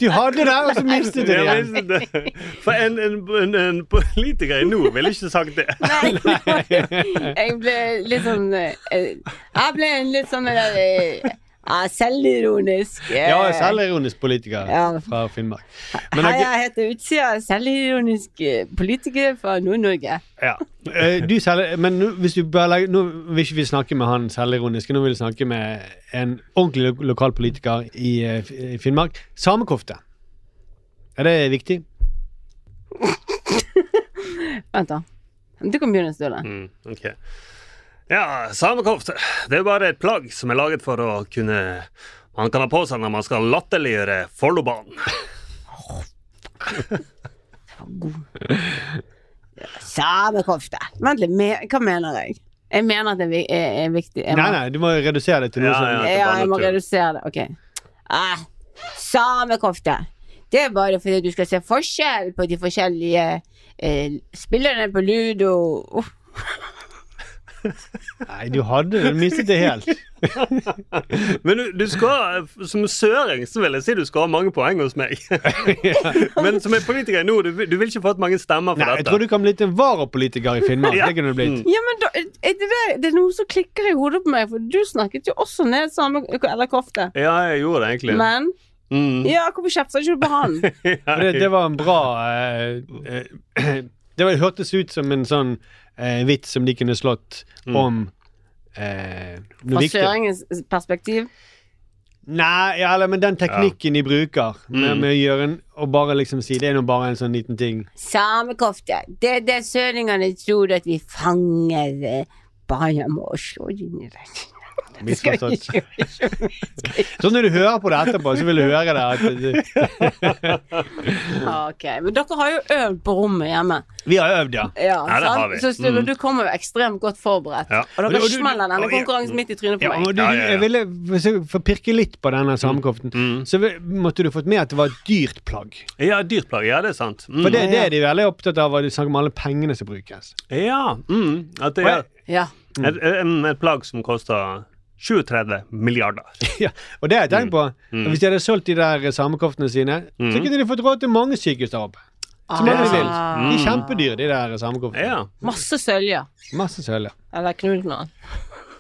Speaker 3: Du hadde det, og så mistet du det
Speaker 5: Ja,
Speaker 3: igjen.
Speaker 5: men det- For en, en, en, en politiker i nord ville ikke sagt det.
Speaker 4: (laughs) Nei, det var- jeg ble litt sånn eh, Jeg ble en litt sånn eh, ja, selvironisk. eh,
Speaker 3: Ja, selvironisk politiker
Speaker 4: Ja.
Speaker 3: fra Finnmark. Men
Speaker 4: Hei,
Speaker 3: ok,
Speaker 4: jeg heter Utsida, selvironisk eh, politiker fra Nord-Norge.
Speaker 3: ja. Eh, du selger, men nå, hvis du bare legger, nå vil ikke vi snakke med han selvironiske, nå vil vi snakke med en ordentlig lo lokal politiker i eh, F- i Finnmark. Samekofte. Er det viktig?
Speaker 4: Vent, da. Du kan begynne, Sturle.
Speaker 5: Mm, ok. Ja, samekofte. Det er bare et plagg som er laget for å kunne Man kan ha på seg når man skal latterliggjøre Follobanen.
Speaker 4: (laughs) Samekofte. Vent litt, me hva mener jeg? Jeg mener at det er vi- er, er viktig. Jeg må,
Speaker 3: Nei, nei, du må redusere det til noe
Speaker 5: Ja,
Speaker 3: sånn.
Speaker 5: ja.
Speaker 4: Ja, jeg må
Speaker 5: Bare tull.
Speaker 4: redusere det. OK. Ah, samekofte. Det er bare fordi du skal se forskjell på de forskjellige eh, spillerne på ludo. Uff,
Speaker 3: Nei, du hadde du mistet det helt.
Speaker 5: Men du, du skal, ha- som søring så vil jeg si du skal ha mange poeng hos meg. (laughs) Men som en politiker nå, du, du vil ikke få hatt mange stemmer for
Speaker 3: Nei, jeg
Speaker 5: dette.
Speaker 3: tror du kan bli til en varapolitiker i Finnmark.
Speaker 5: Ja.
Speaker 3: Det kunne du blitt.
Speaker 4: Ja, Mm, men da, er det, der, det er noe som klikker i hodet på meg, for du snakket jo også ned same eller kofte.
Speaker 5: Ja, jeg gjorde det egentlig.
Speaker 4: Men
Speaker 5: Mm.
Speaker 4: ja, hvorfor kjefter ikke du på han?
Speaker 3: For (laughs) det, det var en bra eh, eh, (clears throat) Det var, hørtes ut som en sånn eh, vits som de kunne slått om eh, noe
Speaker 4: Fra
Speaker 3: viktig.
Speaker 4: søringens perspektiv.
Speaker 3: Nei, ja, eller, men den teknikken de bruker med,
Speaker 5: Mm.
Speaker 3: med å gjøre en, og bare liksom si det er nå bare en sånn liten ting.
Speaker 4: Samekofte. Det er det søringene tror at vi fanger eh, bare med å slå dem i rett.
Speaker 3: Misforstått. (laughs) Så når du hører på det etterpå, så vil du høre det. At, eh, det-
Speaker 4: Ok, Men dere har jo øvd på rommet hjemme.
Speaker 3: vi har øvd, ja.
Speaker 4: Ja,
Speaker 5: Ja, det har
Speaker 4: sant?
Speaker 5: vi. Mm.
Speaker 4: Så Sturle, du kommer jo ekstremt godt forberedt.
Speaker 5: Ja.
Speaker 4: Og
Speaker 3: Og du-
Speaker 4: dere
Speaker 3: og du-
Speaker 4: smeller
Speaker 3: og-
Speaker 4: denne
Speaker 3: ja.
Speaker 4: konkurransen midt i trynet på
Speaker 3: Ja, og
Speaker 4: meg.
Speaker 3: du,
Speaker 5: Ja, Mm. ja, ja.
Speaker 3: Jeg ville hvis jeg får pirke litt på denne samekoften. Så vi- måtte du fått med at det var et dyrt plagg.
Speaker 5: Ja, dyrt plagg. Ja, det er sant. Mm.
Speaker 3: For det, det er de veldig opptatt av, og de snakker om alle pengene som brukes.
Speaker 5: Ja. Mm. At det er
Speaker 3: Og
Speaker 4: Ja.
Speaker 5: et, et, et plagg som koster 37 milliarder.
Speaker 3: Ja, og det har jeg tenkt
Speaker 5: Mm.
Speaker 3: på. Hvis de hadde solgt de der samekoftene sine, så kunne de fått råd til mange sykehus der oppe. Som mange de vil. De
Speaker 5: Mm.
Speaker 3: er kjempedyre, de der samekoftene.
Speaker 5: Ja.
Speaker 4: Masse søljer.
Speaker 3: Masse sølv. ja.
Speaker 4: Eller knulknall.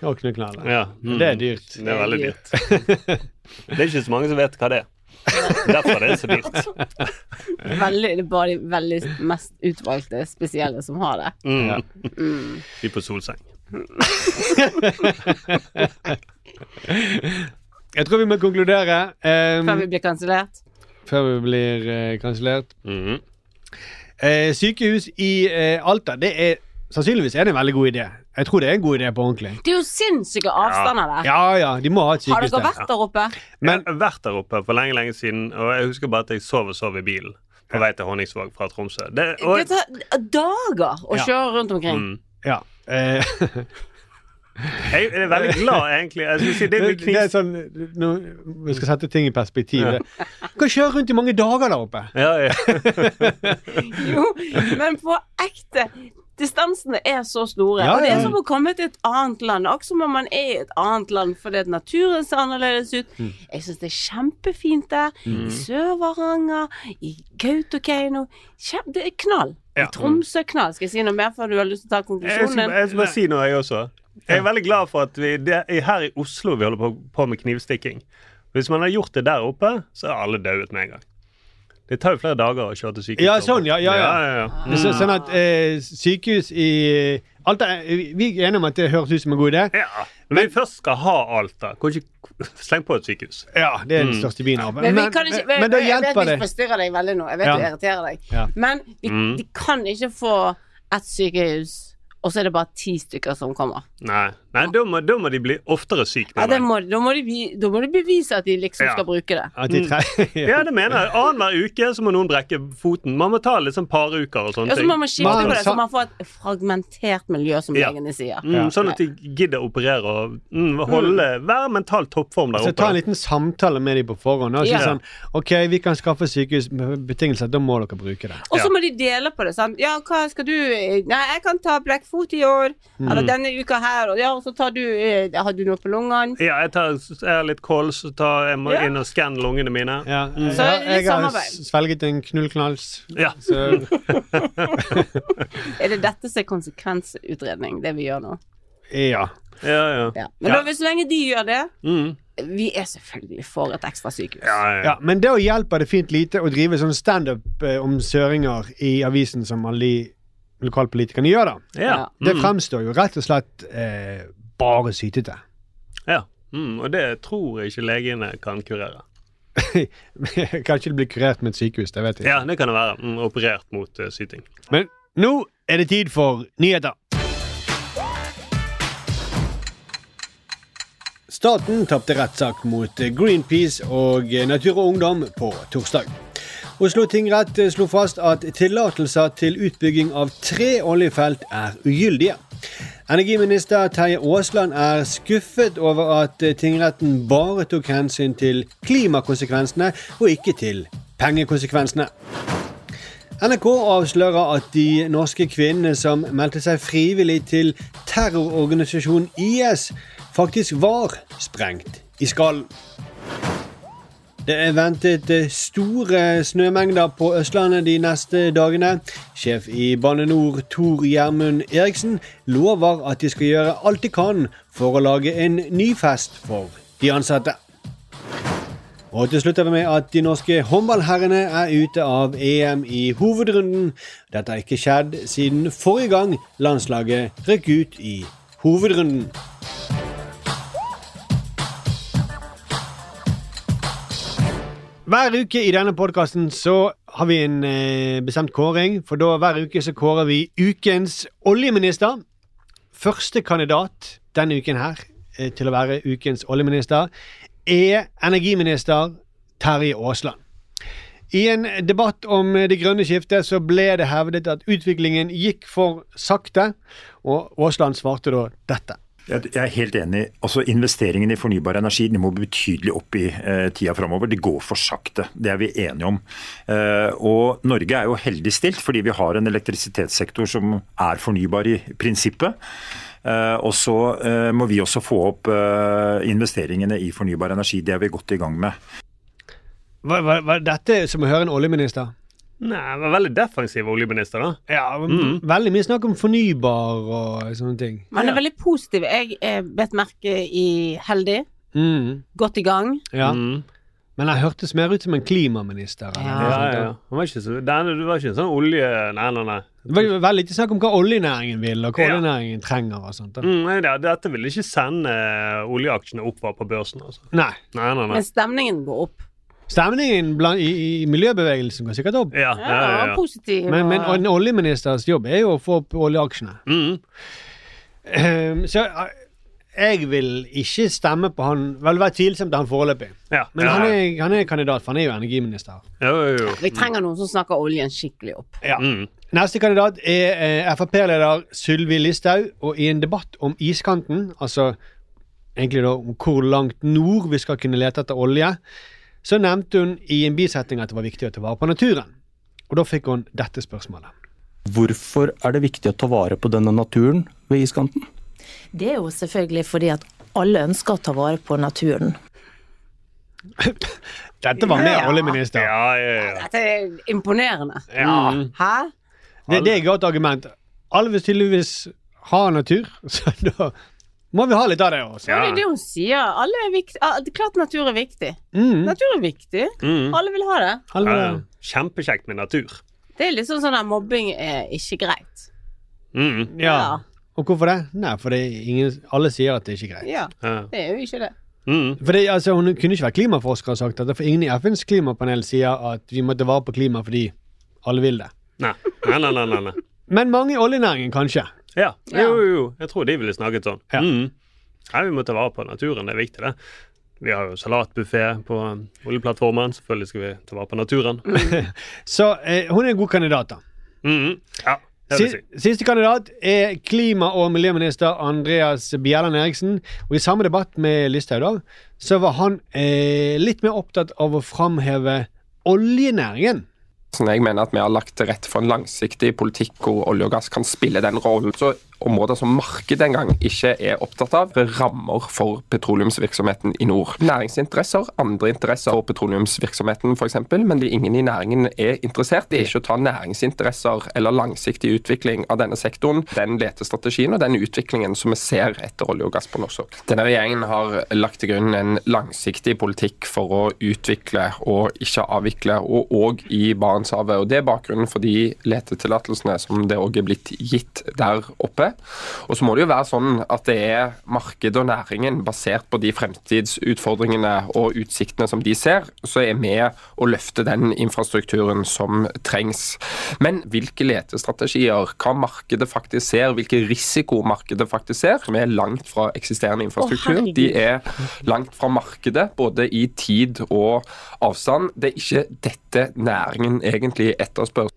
Speaker 3: Og knuknaller.
Speaker 5: ja. Mm.
Speaker 3: Det er dyrt.
Speaker 5: Det er veldig dyrt. (laughs) Det er ikke så mange som vet hva det er. Derfor er det så dyrt.
Speaker 4: (laughs) Veldig, det er bare de veldig mest utvalgte spesielle som har det.
Speaker 5: Mm.
Speaker 3: Ja.
Speaker 5: De på Solseng.
Speaker 3: Jeg tror vi må konkludere eh,
Speaker 4: Før vi blir kansellert.
Speaker 3: før vi blir eh, kansellert.
Speaker 5: Mm.
Speaker 3: Eh, sykehus i eh, Alta, det er sannsynligvis er det en veldig god idé. Jeg tror det er en god idé på ordentlig.
Speaker 4: Det er jo sinnssyke avstander der.
Speaker 3: Ja ja, de må ha et
Speaker 4: Ah. Har
Speaker 3: sykehus
Speaker 4: dere
Speaker 3: der.
Speaker 4: vært der oppe?
Speaker 3: Men
Speaker 5: Jeg har vært der oppe for lenge, lenge siden, og jeg husker bare at jeg sov og sov i bilen på vei til Honningsvåg fra Tromsø. Det,
Speaker 4: Det
Speaker 5: og, Mm.
Speaker 4: tar dager å
Speaker 3: Ja.
Speaker 4: kjøre rundt omkring.
Speaker 3: ja. Eh, (laughs)
Speaker 5: jeg er veldig glad, egentlig. Jeg skulle si det er
Speaker 3: det,
Speaker 5: litt
Speaker 3: det er
Speaker 5: knis.
Speaker 3: sånn nå, Vi skal sette ting i perspektiv. Det- Du kan kjøre rundt i mange dager der oppe.
Speaker 5: Ja, ja.
Speaker 4: (laughs) Jo, men på ekte. Distansene er så store.
Speaker 3: Ja,
Speaker 4: Og det
Speaker 3: ja.
Speaker 4: er som å komme til et annet land. Også når man er i et annet land fordi at naturen ser annerledes ut.
Speaker 3: Mm.
Speaker 4: Jeg syns det er kjempefint der. I Sør-Varanger, i Kautokeino. Kjem- Det er knall. I Tromsø er knall. Skal jeg si noe mer før du har lyst til å ta
Speaker 5: Jeg
Speaker 4: konklusjonen
Speaker 5: skal,
Speaker 4: din?
Speaker 5: jeg skal bare si noe, jeg også. Jeg er veldig glad for at vi, det er her i Oslo vi holder på, på med knivstikking. Hvis man har gjort det der oppe, så er alle dauet med en gang. Det tar jo flere dager å kjøre til sykehuset.
Speaker 3: Ja, sånn, ja, ja, ja.
Speaker 5: ja, ja, ja.
Speaker 3: Så, sånn at eh, sykehus i Alt er, vi er enige om at det høres ut som en god idé.
Speaker 5: Ja. Når vi først skal ha Alta, kan vi ikke slenge på et sykehus?
Speaker 3: Ja, det er den største byen. her.
Speaker 4: Men, vi kan ikke,
Speaker 3: men, men da hjelper
Speaker 4: Jeg vet vi
Speaker 3: det.
Speaker 4: forstyrrer deg veldig nå. Jeg vet
Speaker 3: Ja.
Speaker 4: du irriterer deg.
Speaker 3: Ja.
Speaker 4: Men vi,
Speaker 5: Mm.
Speaker 4: de kan ikke få ett sykehus, og så er det bare ti stykker som kommer.
Speaker 5: Nei, Nei da, må, da må de bli oftere syke.
Speaker 4: Ja,
Speaker 5: mener
Speaker 4: det
Speaker 5: jeg.
Speaker 4: må, da, må de, be- da må de bevise at de liksom
Speaker 5: Ja.
Speaker 4: skal bruke det.
Speaker 3: At de tre- (laughs)
Speaker 5: ja, det mener jeg. Annenhver uke så må noen brekke foten. Man må ta litt sånn paruker og
Speaker 4: Og
Speaker 5: sånne
Speaker 4: så må man
Speaker 5: ting.
Speaker 4: skifte
Speaker 3: Man
Speaker 4: på det,
Speaker 3: sa-
Speaker 4: så man får et fragmentert miljø, som
Speaker 5: Ja.
Speaker 4: legene sier.
Speaker 5: Mm, sånn at de gidder å operere og mm, holde, være mentalt toppform der
Speaker 3: Så Altså, ta en
Speaker 5: oppe.
Speaker 3: liten samtale med dem på forhånd. Og si
Speaker 4: Ja.
Speaker 3: sånn OK, vi kan skaffe sykehus med betingelser. Da må dere bruke det.
Speaker 4: Og så
Speaker 5: Ja.
Speaker 4: må de dele på det. sant? Ja, hva skal du eh, Nei, jeg kan ta blekkfot i år.
Speaker 5: Mm.
Speaker 4: Eller denne uka her. Og ja, og så tar du eh, Har du noe på lungene?
Speaker 5: Ja, jeg, tar, jeg har litt kols, så tar, jeg må
Speaker 4: Ja.
Speaker 5: inn og skanne lungene mine.
Speaker 3: Ja.
Speaker 4: Så
Speaker 3: Ja,
Speaker 4: litt
Speaker 3: jeg har
Speaker 4: samarbeid.
Speaker 3: s- svelget en knullknalls.
Speaker 5: Ja.
Speaker 3: Så
Speaker 4: Er det dette som er konsekvensutredning, det vi gjør nå?
Speaker 3: (laughs) ja.
Speaker 5: Ja, ja.
Speaker 4: Ja. Men da, så lenge de gjør det
Speaker 5: Mm.
Speaker 4: Vi er selvfølgelig for et ekstra sykehus.
Speaker 5: ja, ja.
Speaker 3: ja. Men da hjelper det fint lite å drive sånn standup eh, om søringer i avisen som alle de lokalpolitikerne gjør, da.
Speaker 5: ja.
Speaker 3: Det
Speaker 5: Mm.
Speaker 3: fremstår jo rett og slett eh, bare sytete. (laughs)
Speaker 5: ja. Mm. Og det tror jeg ikke legene kan kurere.
Speaker 3: Kanskje det blir kurert med et sykehus, det vet jeg.
Speaker 5: Ja, det kan det være. Mm, operert mot eh, syting.
Speaker 3: Men nå er det tid for nyheter. Staten tapte rettssak mot Greenpeace og Natur og Ungdom på torsdag. Oslo tingrett slo fast at tillatelser til utbygging av tre oljefelt er ugyldige. Energiminister Terje Aasland er skuffet over at tingretten bare tok hensyn til klimakonsekvensene og ikke til pengekonsekvensene. NRK avslører at de norske kvinnene som meldte seg frivillig til terrororganisasjonen IS, faktisk var sprengt i skallen. Det er ventet eh, store snømengder på Østlandet de neste dagene. Sjef i Bane NOR, Tor Gjermund Eriksen, lover at de skal gjøre alt de kan for å lage en ny fest for de ansatte. Og til slutt er det med at de norske håndballherrene er ute av EM i hovedrunden. Dette har ikke skjedd siden forrige gang landslaget røk ut i hovedrunden. Hver uke i denne podkasten så har vi en eh, bestemt kåring. For da hver uke så kårer vi ukens oljeminister. Første kandidat denne uken her eh, til å være ukens oljeminister er energiminister Terje Aasland. I en debatt om det grønne skiftet så ble det hevdet at utviklingen gikk for sakte, og Aasland svarte da dette.
Speaker 7: Jeg jeg er helt enig. Altså, Investeringen i fornybar energi de må betydelig opp i eh, tida framover. Det går for sakte. Det er vi enige om. Eh, og Norge er jo heldig stilt fordi vi har en elektrisitetssektor som er fornybar i prinsippet. Eh, og så eh, må vi også få opp eh, investeringene i fornybar energi. Det er vi godt i gang med.
Speaker 3: Var, var, var dette som å høre en oljeminister?
Speaker 5: Nei, det var veldig defensiv oljeminister, da.
Speaker 3: Ja, Veldig mye snakk om fornybar og sånne ting.
Speaker 4: Man er veldig positiv. Jeg eh, bet merke i heldig.
Speaker 3: Mm,
Speaker 4: Godt i gang.
Speaker 3: ja.
Speaker 5: Mm.
Speaker 3: Men han hørtes mer ut som en klimaminister. Eller
Speaker 4: Ja.
Speaker 3: noe
Speaker 5: Ja,
Speaker 3: sånt,
Speaker 5: ja, ja. Han var ikke så, den, du var ikke en sånn olje... Nei, nei, nei.
Speaker 3: Det var jo veldig lite snakk om hva oljenæringen vil, og hva
Speaker 5: Ja.
Speaker 3: oljenæringen trenger. og sånt. da.
Speaker 5: Mm, nei, det- dette ville ikke sende eh, oljeaksjene opp på børsen, altså.
Speaker 3: Nei.
Speaker 5: Nei, nei, nei.
Speaker 4: Men stemningen går opp.
Speaker 3: Stemningen blant, i, i miljøbevegelsen går sikkert opp.
Speaker 5: Ja,
Speaker 4: Ja,
Speaker 5: ja, ja. ja.
Speaker 4: Positiv.
Speaker 3: Men, men
Speaker 4: og-
Speaker 3: en oljeministers jobb er jo å få opp oljeaksjene.
Speaker 5: Mm.
Speaker 3: Ehm, så eh, jeg vil ikke stemme på han Vel, det var tvilsomt han foreløpig.
Speaker 5: ja.
Speaker 3: Men
Speaker 5: ja,
Speaker 3: han,
Speaker 5: ja.
Speaker 3: er, han er kandidat, for han er jo energiminister.
Speaker 5: Jo, jo, jo.
Speaker 4: Vi trenger noen som snakker oljen skikkelig opp.
Speaker 5: Mm.
Speaker 3: Neste kandidat er eh, Frp-leder Sylvi Listhaug, og i en debatt om iskanten, altså egentlig da om hvor langt nord vi skal kunne lete etter olje, så nevnte hun i en bisetning at det var viktig å ta vare på naturen. Og da fikk hun dette spørsmålet.
Speaker 8: Hvorfor er det viktig å ta vare på denne naturen ved iskanten?
Speaker 9: Det er jo selvfølgelig fordi at alle ønsker å ta vare på naturen.
Speaker 3: (laughs) Dette var med
Speaker 4: Ja.
Speaker 3: oljeminister.
Speaker 5: Ja, ja, ja.
Speaker 4: Dette er imponerende.
Speaker 5: Mm.
Speaker 4: Hæ?
Speaker 3: Det, det er et godt argument. Alle vil tydeligvis ha natur, (laughs) så da må vi ha litt av det også.
Speaker 4: Ja. Det
Speaker 5: Ja.
Speaker 4: er det hun sier. Alle er vikt... ah, det er klart natur er viktig.
Speaker 3: Mm.
Speaker 4: Natur er viktig.
Speaker 5: Mm.
Speaker 4: Alle vil ha det.
Speaker 5: Ja,
Speaker 3: Alle,
Speaker 5: ja. Kjempekjekt med natur.
Speaker 4: Det er litt sånn sånn at mobbing er ikke greit.
Speaker 5: Mm.
Speaker 3: ja.
Speaker 4: Ja.
Speaker 3: Og hvorfor det? Nei, fordi ingen, alle sier at det er ikke greit.
Speaker 4: Ja, det er jo ikke det.
Speaker 3: For det, altså, hun kunne ikke vært klimaforsker og sagt dette, for ingen i FNs klimapanel sier at vi må ta vare på klimaet fordi alle vil det.
Speaker 5: Nei. Nei, nei, nei, nei, nei.
Speaker 3: Men mange i oljenæringen, kanskje.
Speaker 5: Ja. Jo, jo, jo. Jeg tror de ville snakket sånn. Mm. Nei, vi må ta vare på naturen. Det er viktig, det. Vi har jo salatbuffé på oljeplattformen. Selvfølgelig skal vi ta vare på naturen.
Speaker 3: (laughs) Så eh, hun er en god kandidat, da.
Speaker 5: Mm. Ja, det vil jeg si.
Speaker 3: Si- Siste kandidat er klima- og miljøminister Andreas Bjelland Eriksen. Og I samme debatt med Listhaug da, så var han eh, litt mer opptatt av å framheve oljenæringen.
Speaker 10: Sånn jeg mener at Vi har lagt til rette for en langsiktig politikk hvor olje og gass kan spille den rollen. Så Områder som markedet engang ikke er opptatt av, er rammer for petroleumsvirksomheten i nord. Næringsinteresser, andre interesser for petroleumsvirksomheten f.eks., men det ingen i næringen er interessert i. Ikke å ta næringsinteresser eller langsiktig utvikling av denne sektoren, den letestrategien og den utviklingen som vi ser etter olje og gass på norsk sokkel. Denne regjeringen har lagt til grunn en langsiktig politikk for å utvikle og ikke avvikle, og òg i Barentshavet. Og Det er bakgrunnen for de letetillatelsene som det òg er blitt gitt der oppe. Og så må det jo være sånn at det er markedet og næringen, basert på de fremtidsutfordringene og utsiktene som de ser, så er med å løfte den infrastrukturen som trengs. Men hvilke letestrategier, hva markedet faktisk ser, hvilke risiko markedet faktisk ser, som er langt fra eksisterende infrastruktur,
Speaker 11: herregud.
Speaker 10: de er langt fra markedet, både i tid og avstand. Det er ikke dette næringen egentlig etterspør.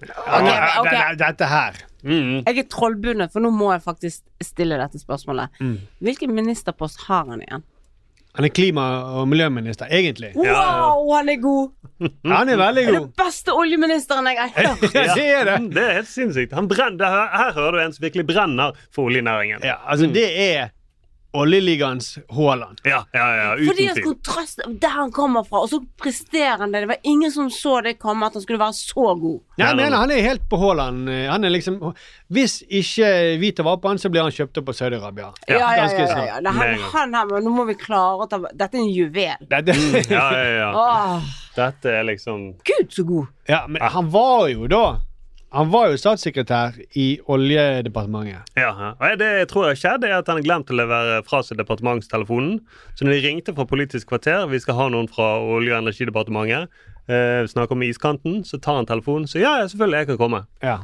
Speaker 4: men, ok.
Speaker 3: det- Dette her. Mm.
Speaker 4: Jeg er trollbundet, for nå må jeg faktisk stille dette spørsmålet.
Speaker 3: Mm.
Speaker 4: Hvilken ministerpost har han igjen?
Speaker 3: Han er klima- og miljøminister, egentlig.
Speaker 4: Wow, han er god!
Speaker 3: Han er veldig god.
Speaker 4: Den beste oljeministeren jeg har hørt.
Speaker 5: Ja,
Speaker 3: (laughs)
Speaker 5: Mm.
Speaker 3: det er det.
Speaker 5: Det er helt sinnssykt. Han brenner, her, her hører du en som virkelig brenner for oljenæringen.
Speaker 3: Ja, altså det er Oljeligaens Haaland.
Speaker 5: Ja, ja, ja,
Speaker 4: Fordi
Speaker 5: uten
Speaker 4: at
Speaker 5: tvil.
Speaker 4: kontrast der han kommer fra, og så presterer han det. Det var ingen som så det komme, at han skulle være så god.
Speaker 3: Nei, jeg mener han er helt på Haaland. eh, Han er liksom Hvis ikke vi tar vare på han, så blir han kjøpt opp av Saudi-Arabia.
Speaker 4: Ja, ja, ja.
Speaker 3: Ganske
Speaker 4: ja, ja,
Speaker 3: snart.
Speaker 4: Det er Han, han her, men nå må vi klare å ta Dette er en juvel.
Speaker 5: Mm, ja, ja, ja.
Speaker 4: (laughs) Åh,
Speaker 5: Dette er liksom
Speaker 4: Gud, så god!
Speaker 3: Ja, men han var jo da Han var jo statssekretær i Oljedepartementet.
Speaker 5: Ja, ja. Nei, Det jeg tror jeg skjedde, er at han glemte å levere fra seg departementstelefonen. Så når de ringte fra Politisk kvarter, vi skal ha noen fra Olje- og energidepartementet, eh, snakker om iskanten, så tar han telefonen. Så ja, ja, selvfølgelig, jeg kan komme.
Speaker 3: Ja.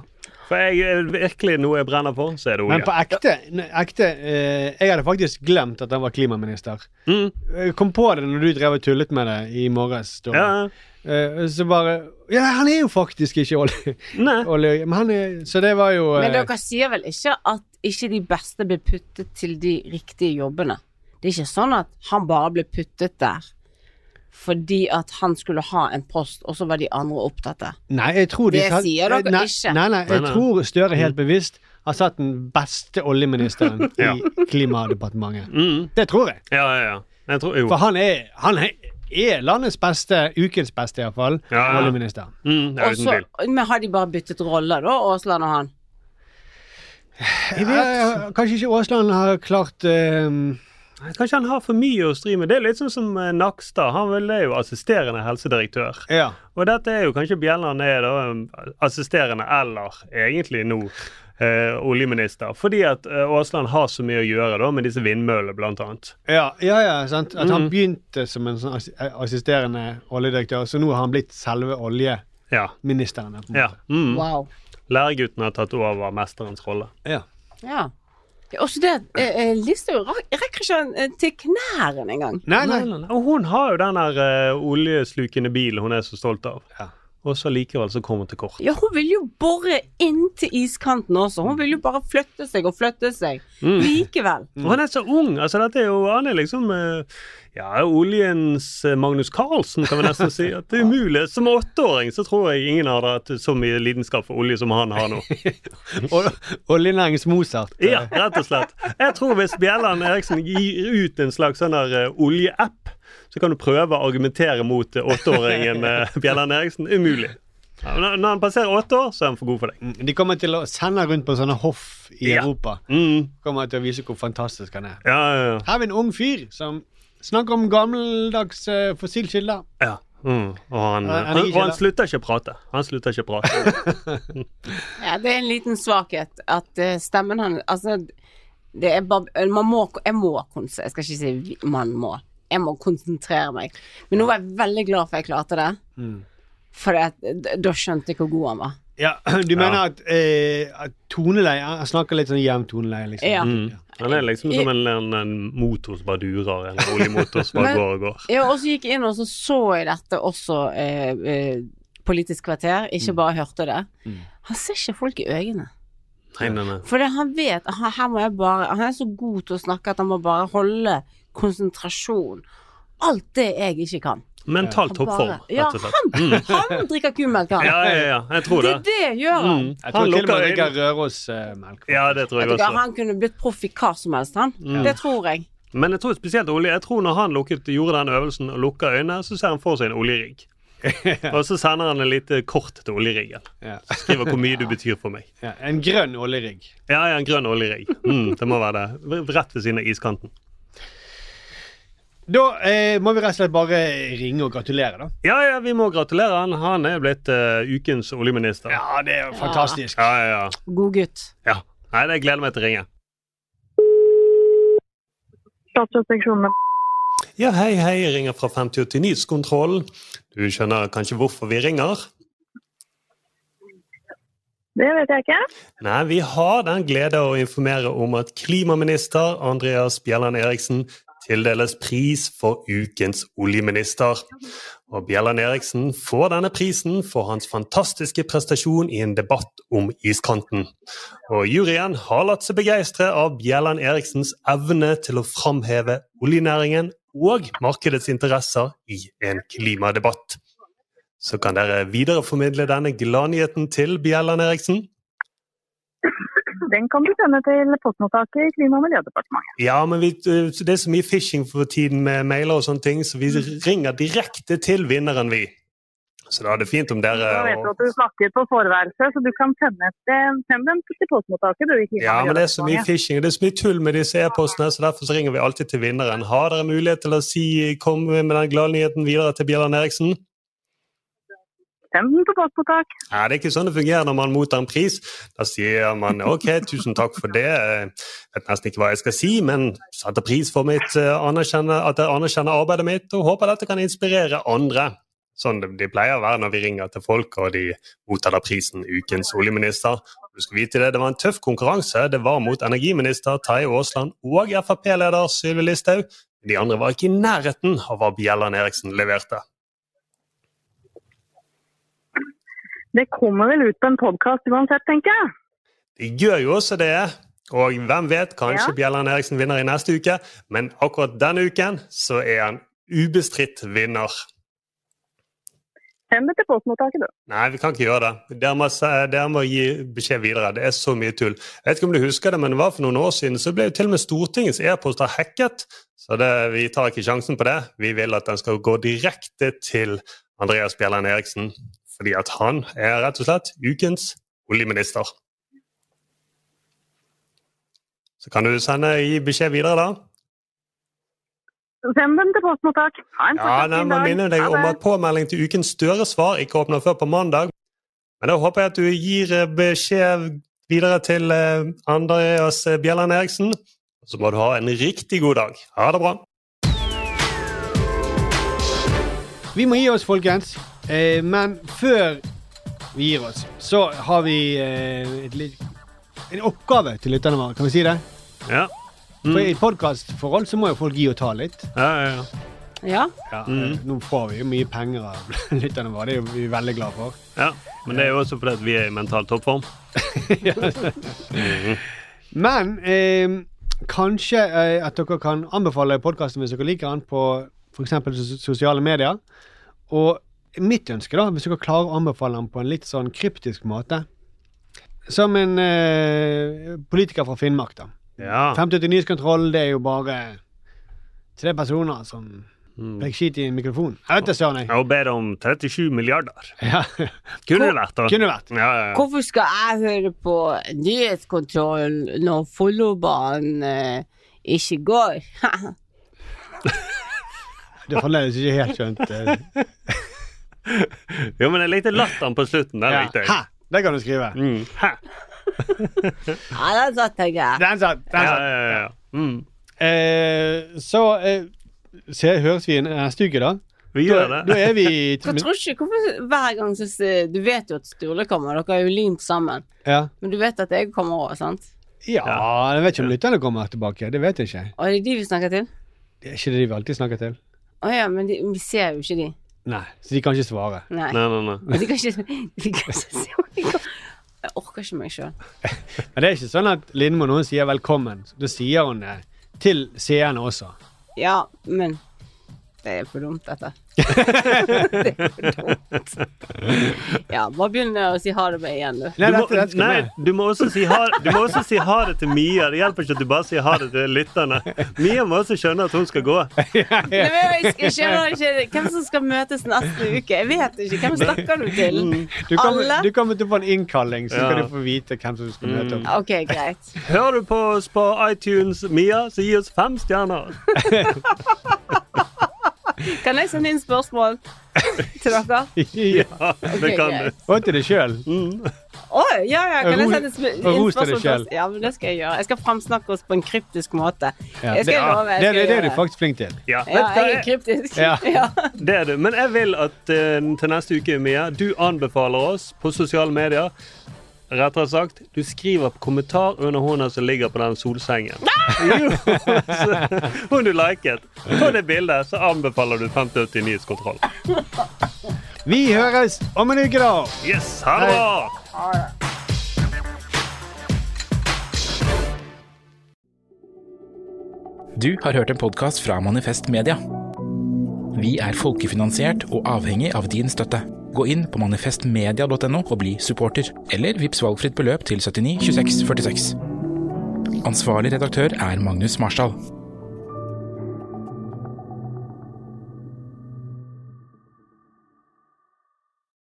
Speaker 5: For jeg er virkelig noe jeg brenner for, så er det
Speaker 4: Oh,
Speaker 3: Men på
Speaker 5: olje.
Speaker 3: ekte, ne- ekte eh, Jeg hadde faktisk glemt at han var klimaminister. Jeg kom på det når du drev og tullet med det i morges. Ståle.
Speaker 5: Ja.
Speaker 3: Eh, så bare Ja, han er jo faktisk ikke olje... (laughs) olje men han er, så det var jo eh,
Speaker 4: Men dere sier vel ikke at ikke de beste blir puttet til de riktige jobbene? Det er ikke sånn at han bare ble puttet der fordi at han skulle ha en post, og så var de andre opptatt av.
Speaker 3: Nei, jeg tror de
Speaker 4: Det
Speaker 3: satt-
Speaker 4: sier dere
Speaker 3: nei,
Speaker 4: ikke.
Speaker 3: Nei, nei, jeg
Speaker 4: Nei, nei.
Speaker 3: tror Støre helt bevisst har satt den beste oljeministeren
Speaker 5: Ja.
Speaker 3: i Klimadepartementet. Det tror jeg.
Speaker 5: Mm, Ja, ja, ja. Jeg tror, jo.
Speaker 3: For han er, han er- er landets beste, ukens beste iallfall,
Speaker 5: Ja, ja.
Speaker 3: oljeminister.
Speaker 5: Mm, ja,
Speaker 4: Og
Speaker 5: uten
Speaker 4: så-
Speaker 5: tvil.
Speaker 4: men har de bare byttet roller, da, Aasland og han?
Speaker 3: Jeg vet, kanskje ikke Aasland har klart eh,
Speaker 5: Nei, Kanskje han har for mye å stri med. Det er litt sånn som eh, Nakstad. Han vel er jo assisterende helsedirektør.
Speaker 3: Ja.
Speaker 5: Og dette er jo kanskje Bjelland er da eh, assisterende eller egentlig nå eh, oljeminister. Fordi at eh, Aasland har så mye å gjøre da med disse vindmøllene, blant annet.
Speaker 3: Ja, ja, ja sant? At han
Speaker 5: Mm.
Speaker 3: begynte som en sånn assi- assisterende oljedirektør, så nå har han blitt selve oljeministeren. på en måte.
Speaker 5: Ja. Mm.
Speaker 4: Wow.
Speaker 5: Læregutten har tatt over mesterens rolle.
Speaker 3: Ja.
Speaker 4: Ja. Også det at eh, eh, Listhaug rak- rekker ikke han eh, til knærne engang.
Speaker 5: Og hun har jo den der eh, oljeslukende bilen hun er så stolt av.
Speaker 3: Ja.
Speaker 5: Og så likevel så kommer hun til kort.
Speaker 4: Ja, hun vil jo bore inn til iskanten også. Hun vil jo bare flytte seg og flytte seg.
Speaker 5: Mm.
Speaker 4: Likevel.
Speaker 5: Og han er så ung. altså dette er jo, Han er liksom eh, ja, oljens eh, Magnus Carlsen, kan vi nesten si. at det er umulig. Som åtteåring så tror jeg ingen har hatt så mye lidenskap for olje som han har nå.
Speaker 3: Og Oljenæringens Mozart.
Speaker 5: Ja, rett og slett. Jeg tror hvis Bjelland Eriksen gir ut en slags sånn der eh, oljeapp, så kan du prøve å argumentere mot eh, åtteåringen eh, Bjelland Eriksen. Umulig. Ja, men når han passerer åtte år, så er han for god for deg.
Speaker 3: Mm, De kommer til å sende han rundt på sånne hoff i
Speaker 5: Ja.
Speaker 3: Europa. Kommer til å vise hvor fantastisk han er.
Speaker 5: Ja, ja, ja.
Speaker 3: Her er vi en ung fyr som snakker om gammeldags eh, fossilkilder.
Speaker 5: Ja. Mm. Og han,
Speaker 4: Nei, han er
Speaker 5: han,
Speaker 4: ikke
Speaker 5: og han
Speaker 4: det.
Speaker 5: slutter ikke å prate. Han slutter ikke å prate.
Speaker 4: (laughs) Ja, det er en liten svakhet at eh, stemmen hans Altså, det er bare Man må Jeg må konsentrere Jeg skal ikke si vi- man må. Jeg må konsentrere meg. Men nå var jeg veldig glad for jeg klarte det. For det- da skjønte jeg hvor god han var.
Speaker 3: Ja, (clears throat) du mener at, eh, at toneleie Han snakker litt sånn jevn toneleie, liksom.
Speaker 4: Ja.
Speaker 5: Mm. Han er liksom som en, en, en motor som bare durer, eller oljemotor som bare
Speaker 4: Men-
Speaker 5: går og går.
Speaker 4: Ja, og så gikk jeg inn og så så jeg dette også eh, eh, Politisk kvarter,
Speaker 5: Mm.
Speaker 4: ikke bare hørte det. Han ser ikke folk i øynene.
Speaker 5: Nei, nei, nei.
Speaker 4: For det, han vet han, her må jeg bare, han er så god til å snakke at han må bare holde konsentrasjon. Alt det jeg ikke kan.
Speaker 5: Mental
Speaker 4: Han
Speaker 5: toppform,
Speaker 4: bare- Ja,
Speaker 5: rett og slett.
Speaker 4: han,
Speaker 5: Mm.
Speaker 4: han drikker kummelk, han.
Speaker 5: Ja, ja, ja, jeg tror det.
Speaker 4: Det er det gjør han.
Speaker 5: Mm.
Speaker 3: Jeg tror til og med han
Speaker 5: lukker
Speaker 3: drikker Rørosmelk.
Speaker 5: Ja, det tror jeg
Speaker 4: Vet du hva,
Speaker 5: også.
Speaker 4: han kunne blitt proff i hva som helst, han.
Speaker 5: Mm.
Speaker 4: Det tror jeg.
Speaker 5: Men jeg tror spesielt olje Jeg tror når han lukket, gjorde den øvelsen og lukka øynene, så ser han for seg en oljerigg. og så sender han et lite kort til oljeriggen.
Speaker 3: Ja.
Speaker 5: Skriver hvor mye du betyr for meg.
Speaker 3: Ja, en grønn oljerigg.
Speaker 5: Ja, ja, en grønn oljerigg. Mm, det må være det. V- Rett ved siden av iskanten.
Speaker 3: Da eh, må vi rett og slett bare ringe og gratulere, da.
Speaker 5: Ja, ja, vi må gratulere han. Han er blitt eh, ukens oljeminister.
Speaker 3: Ja, det er jo fantastisk.
Speaker 5: Ja, ja, ja.
Speaker 4: God gutt.
Speaker 5: ja. Nei, det gleder jeg meg til å ringe.
Speaker 11: Statsrespeksjonen.
Speaker 5: Ja, hei, hei. Jeg ringer fra 589-kontrollen. Du skjønner kanskje hvorfor vi ringer?
Speaker 11: Det vet jeg ikke.
Speaker 5: Nei, vi har den glede å informere om at klimaminister Andreas Bjelland Eriksen tildeles pris for ukens oljeminister. Og Bjelland Eriksen får denne prisen for hans fantastiske prestasjon i en debatt om iskanten. Og juryen har latt seg begeistre av Bjelland Eriksens evne til å framheve oljenæringen og markedets interesser i en klimadebatt. Så kan dere videreformidle denne gladnyheten til Bjelland Eriksen.
Speaker 11: Den kan du sende til postmottaket i Klima- og miljødepartementet.
Speaker 5: Ja, men vi, eh, det er så mye phishing for tiden med mailer og sånne ting, så vi
Speaker 11: Mm.
Speaker 5: ringer direkte til vinneren, vi. Så da er det fint om dere
Speaker 11: Da vet du at du snakker på forværelse, så du kan sende, et- eh, send den til postmottaket. Du, i Klima- og
Speaker 5: Ja, men det er så mye
Speaker 11: miljødepartementet.
Speaker 5: phishing, det er så mye tull med disse e-postene, så derfor så ringer vi alltid til vinneren. Har dere mulighet til å si, komme med den gladnyheten videre til Bjelland Eriksen?
Speaker 11: Send den til postmottak.
Speaker 5: Nei, det er ikke sånn det fungerer når man mottar en pris. Da sier man ok, tusen takk for det, jeg vet nesten ikke hva jeg skal si, men setter pris for mitt, eh, anerkjenner, at jeg anerkjenner arbeidet mitt og håper dette kan inspirere andre. Sånn det de pleier å være når vi ringer til folk og de mottar da prisen Ukens oljeminister. Du skal vite Det det var en tøff konkurranse. Det var mot energiminister Terje Aasland og Frp-leder Sylvi Listhaug. De andre var ikke i nærheten av hva Bjelland Eriksen leverte.
Speaker 11: Det kommer vel ut på en podkast uansett, tenker jeg.
Speaker 5: De gjør jo også det. Og hvem vet, kanskje
Speaker 11: Ja.
Speaker 5: Bjelland Eriksen vinner i neste uke. Men akkurat denne uken så er han ubestridt vinner.
Speaker 11: Send det til postmottaket, du.
Speaker 5: Nei, vi kan ikke gjøre det. Dere må, se- dere må gi beskjed videre. Det er så mye tull. Jeg vet ikke om du husker det, men det var for noen år siden så ble jo til og med Stortingets e-poster hacket. Så det, vi tar ikke sjansen på det. Vi vil at den skal gå direkte til Andreas Bjelland Eriksen. Fordi at han er rett og slett ukens oljeminister. Så kan du sende gi beskjed videre, da.
Speaker 11: Send den til postmottak. Ha en
Speaker 5: Ja,
Speaker 11: fortsatt
Speaker 5: nei,
Speaker 11: fin
Speaker 5: man
Speaker 11: dag.
Speaker 5: minner deg
Speaker 11: Ha
Speaker 5: om
Speaker 11: det.
Speaker 5: at påmelding til ukens Støre-svar ikke åpner før på mandag. Men da håper jeg at du gir eh, beskjed videre til eh, Andreas eh, Bjelland Eriksen. Så må du ha en riktig god dag. Ha det bra.
Speaker 3: Vi må gi oss, folkens. Eh, men før vi gir oss, så har vi eh, et, litt- en oppgave til lytterne våre. Kan vi si det?
Speaker 5: Ja.
Speaker 3: For I podkastforhold så må jo folk gi og ta litt.
Speaker 5: Ja, ja, ja.
Speaker 4: Ja.
Speaker 3: Ja, eh, Nå får vi jo mye penger av (laughs) lytterne våre. Det er jo vi veldig glad for.
Speaker 5: Ja, men det er jo også fordi at vi er i mental toppform.
Speaker 3: Men eh, kanskje eh, at dere kan anbefale podkasten hvis dere liker den, på f.eks. sosiale medier. Og mitt ønske, da, hvis dere klarer å anbefale den på en litt sånn kryptisk måte Som en eh, politiker fra Finnmark, da.
Speaker 5: Ja.
Speaker 3: 580 Nyhetskontroll, det er jo bare tre personer som legger skit i en mikrofon. Jeg vet da søren, jeg.
Speaker 5: Og ber om 37 milliarder.
Speaker 3: (laughs) Ja.
Speaker 5: Kunne det vært, da.
Speaker 3: Kunne det vært.
Speaker 5: Ja, ja, ja.
Speaker 4: Hvorfor skal jeg høre på nyhetskontroll når Follobanen eh, ikke går? (laughs)
Speaker 3: Det har fremdeles ikke helt skjønt. eh,
Speaker 5: Jo, men jeg likte latteren på slutten. Den likte jeg.
Speaker 3: Hæ! Det kan du skrive.
Speaker 5: Hæ!
Speaker 4: Ja, den satt, tenker jeg.
Speaker 3: Den satt. Den satt. Eh, så eh, se, høres vi eh, neste uke, da?
Speaker 5: Vi
Speaker 4: gjør
Speaker 3: da,
Speaker 4: det.
Speaker 3: Da er vi i
Speaker 4: Jeg tror ikke hvorfor hver gang så s- Du vet jo at Sturle kommer, dere er jo limt sammen.
Speaker 3: Ja.
Speaker 4: Men du vet at jeg kommer òg, sant?
Speaker 3: Ja, jeg vet ikke om lytterne kommer tilbake. Det vet jeg ikke.
Speaker 4: Og det er de vi snakker til?
Speaker 3: Det er ikke det de vi alltid snakker til.
Speaker 4: Å ja, men de, vi ser jo ikke de.
Speaker 3: Nei, Så de kan ikke svare.
Speaker 4: Nei. Men (laughs) De kan ikke, de kan ikke se de kan, Jeg orker ikke meg sjøl.
Speaker 3: Men det er ikke sånn at Lindmo noen sier velkommen. Da sier hun det til seerne også.
Speaker 4: Ja, men det er for dumt,
Speaker 5: (laughs)
Speaker 4: dette. det er for dumt. Ja, bare begynn å si ha det med igjen, du.
Speaker 5: Du må, nei, du må også si ha, du må også si ha det til Mia. Det hjelper ikke at du bare sier ha det til lytterne. Mia må også skjønne at hun skal gå.
Speaker 4: Nei, men jeg sk- jeg skjønner ikke hvem som skal møtes neste uke. Jeg vet ikke. Hvem snakker du til?
Speaker 5: Mm.
Speaker 3: Du kommer,
Speaker 4: Alle?
Speaker 3: du kommer til å få en innkalling, så skal
Speaker 5: Ja.
Speaker 3: du få vite hvem som skal møte opp.
Speaker 4: OK, greit.
Speaker 5: Hører du på oss på iTunes, Mia, så gi oss fem stjerner.
Speaker 4: (laughs) Kan jeg sende inn spørsmål til dere?
Speaker 3: (laughs) ja,
Speaker 4: det kan du.
Speaker 3: Og til deg sjøl.
Speaker 4: Mm. Å, ja, ja, kan jeg
Speaker 3: Ros-
Speaker 4: sende sp-
Speaker 3: ros til deg
Speaker 4: inn spørsmål
Speaker 3: selv.
Speaker 4: først? Ja, men det skal jeg gjøre. Jeg skal framsnakke oss på en kryptisk måte.
Speaker 3: Ja, det,
Speaker 4: Jeg skal love, jeg
Speaker 3: det, det,
Speaker 4: skal
Speaker 3: det er du
Speaker 4: gjøre
Speaker 3: faktisk flink til.
Speaker 5: Ja,
Speaker 4: Ja,
Speaker 5: vet du hva?
Speaker 4: jeg er kryptisk.
Speaker 5: Ja.
Speaker 4: (laughs) Ja.
Speaker 5: Det er du. Men jeg vil at eh, til neste uke, Mia, du anbefaler oss på sosiale medier. Rettere sagt, du skriver kommentar under hånda som ligger på den solsengen.
Speaker 4: Ah!
Speaker 5: (laughs) Jo, så- Hun du liket. På det bildet så anbefaler du 5080 nyhetskontroll.
Speaker 3: Vi høres om en uke, da!
Speaker 5: Yes, ha det bra!
Speaker 12: Du har hørt en podkast fra Manifest Media. Vi er folkefinansiert og avhengig av din støtte. Gå inn på manifestmedia.no og bli supporter, eller vips valgfritt beløp til 79 26 46. Ansvarlig redaktør er Magnus Marshall.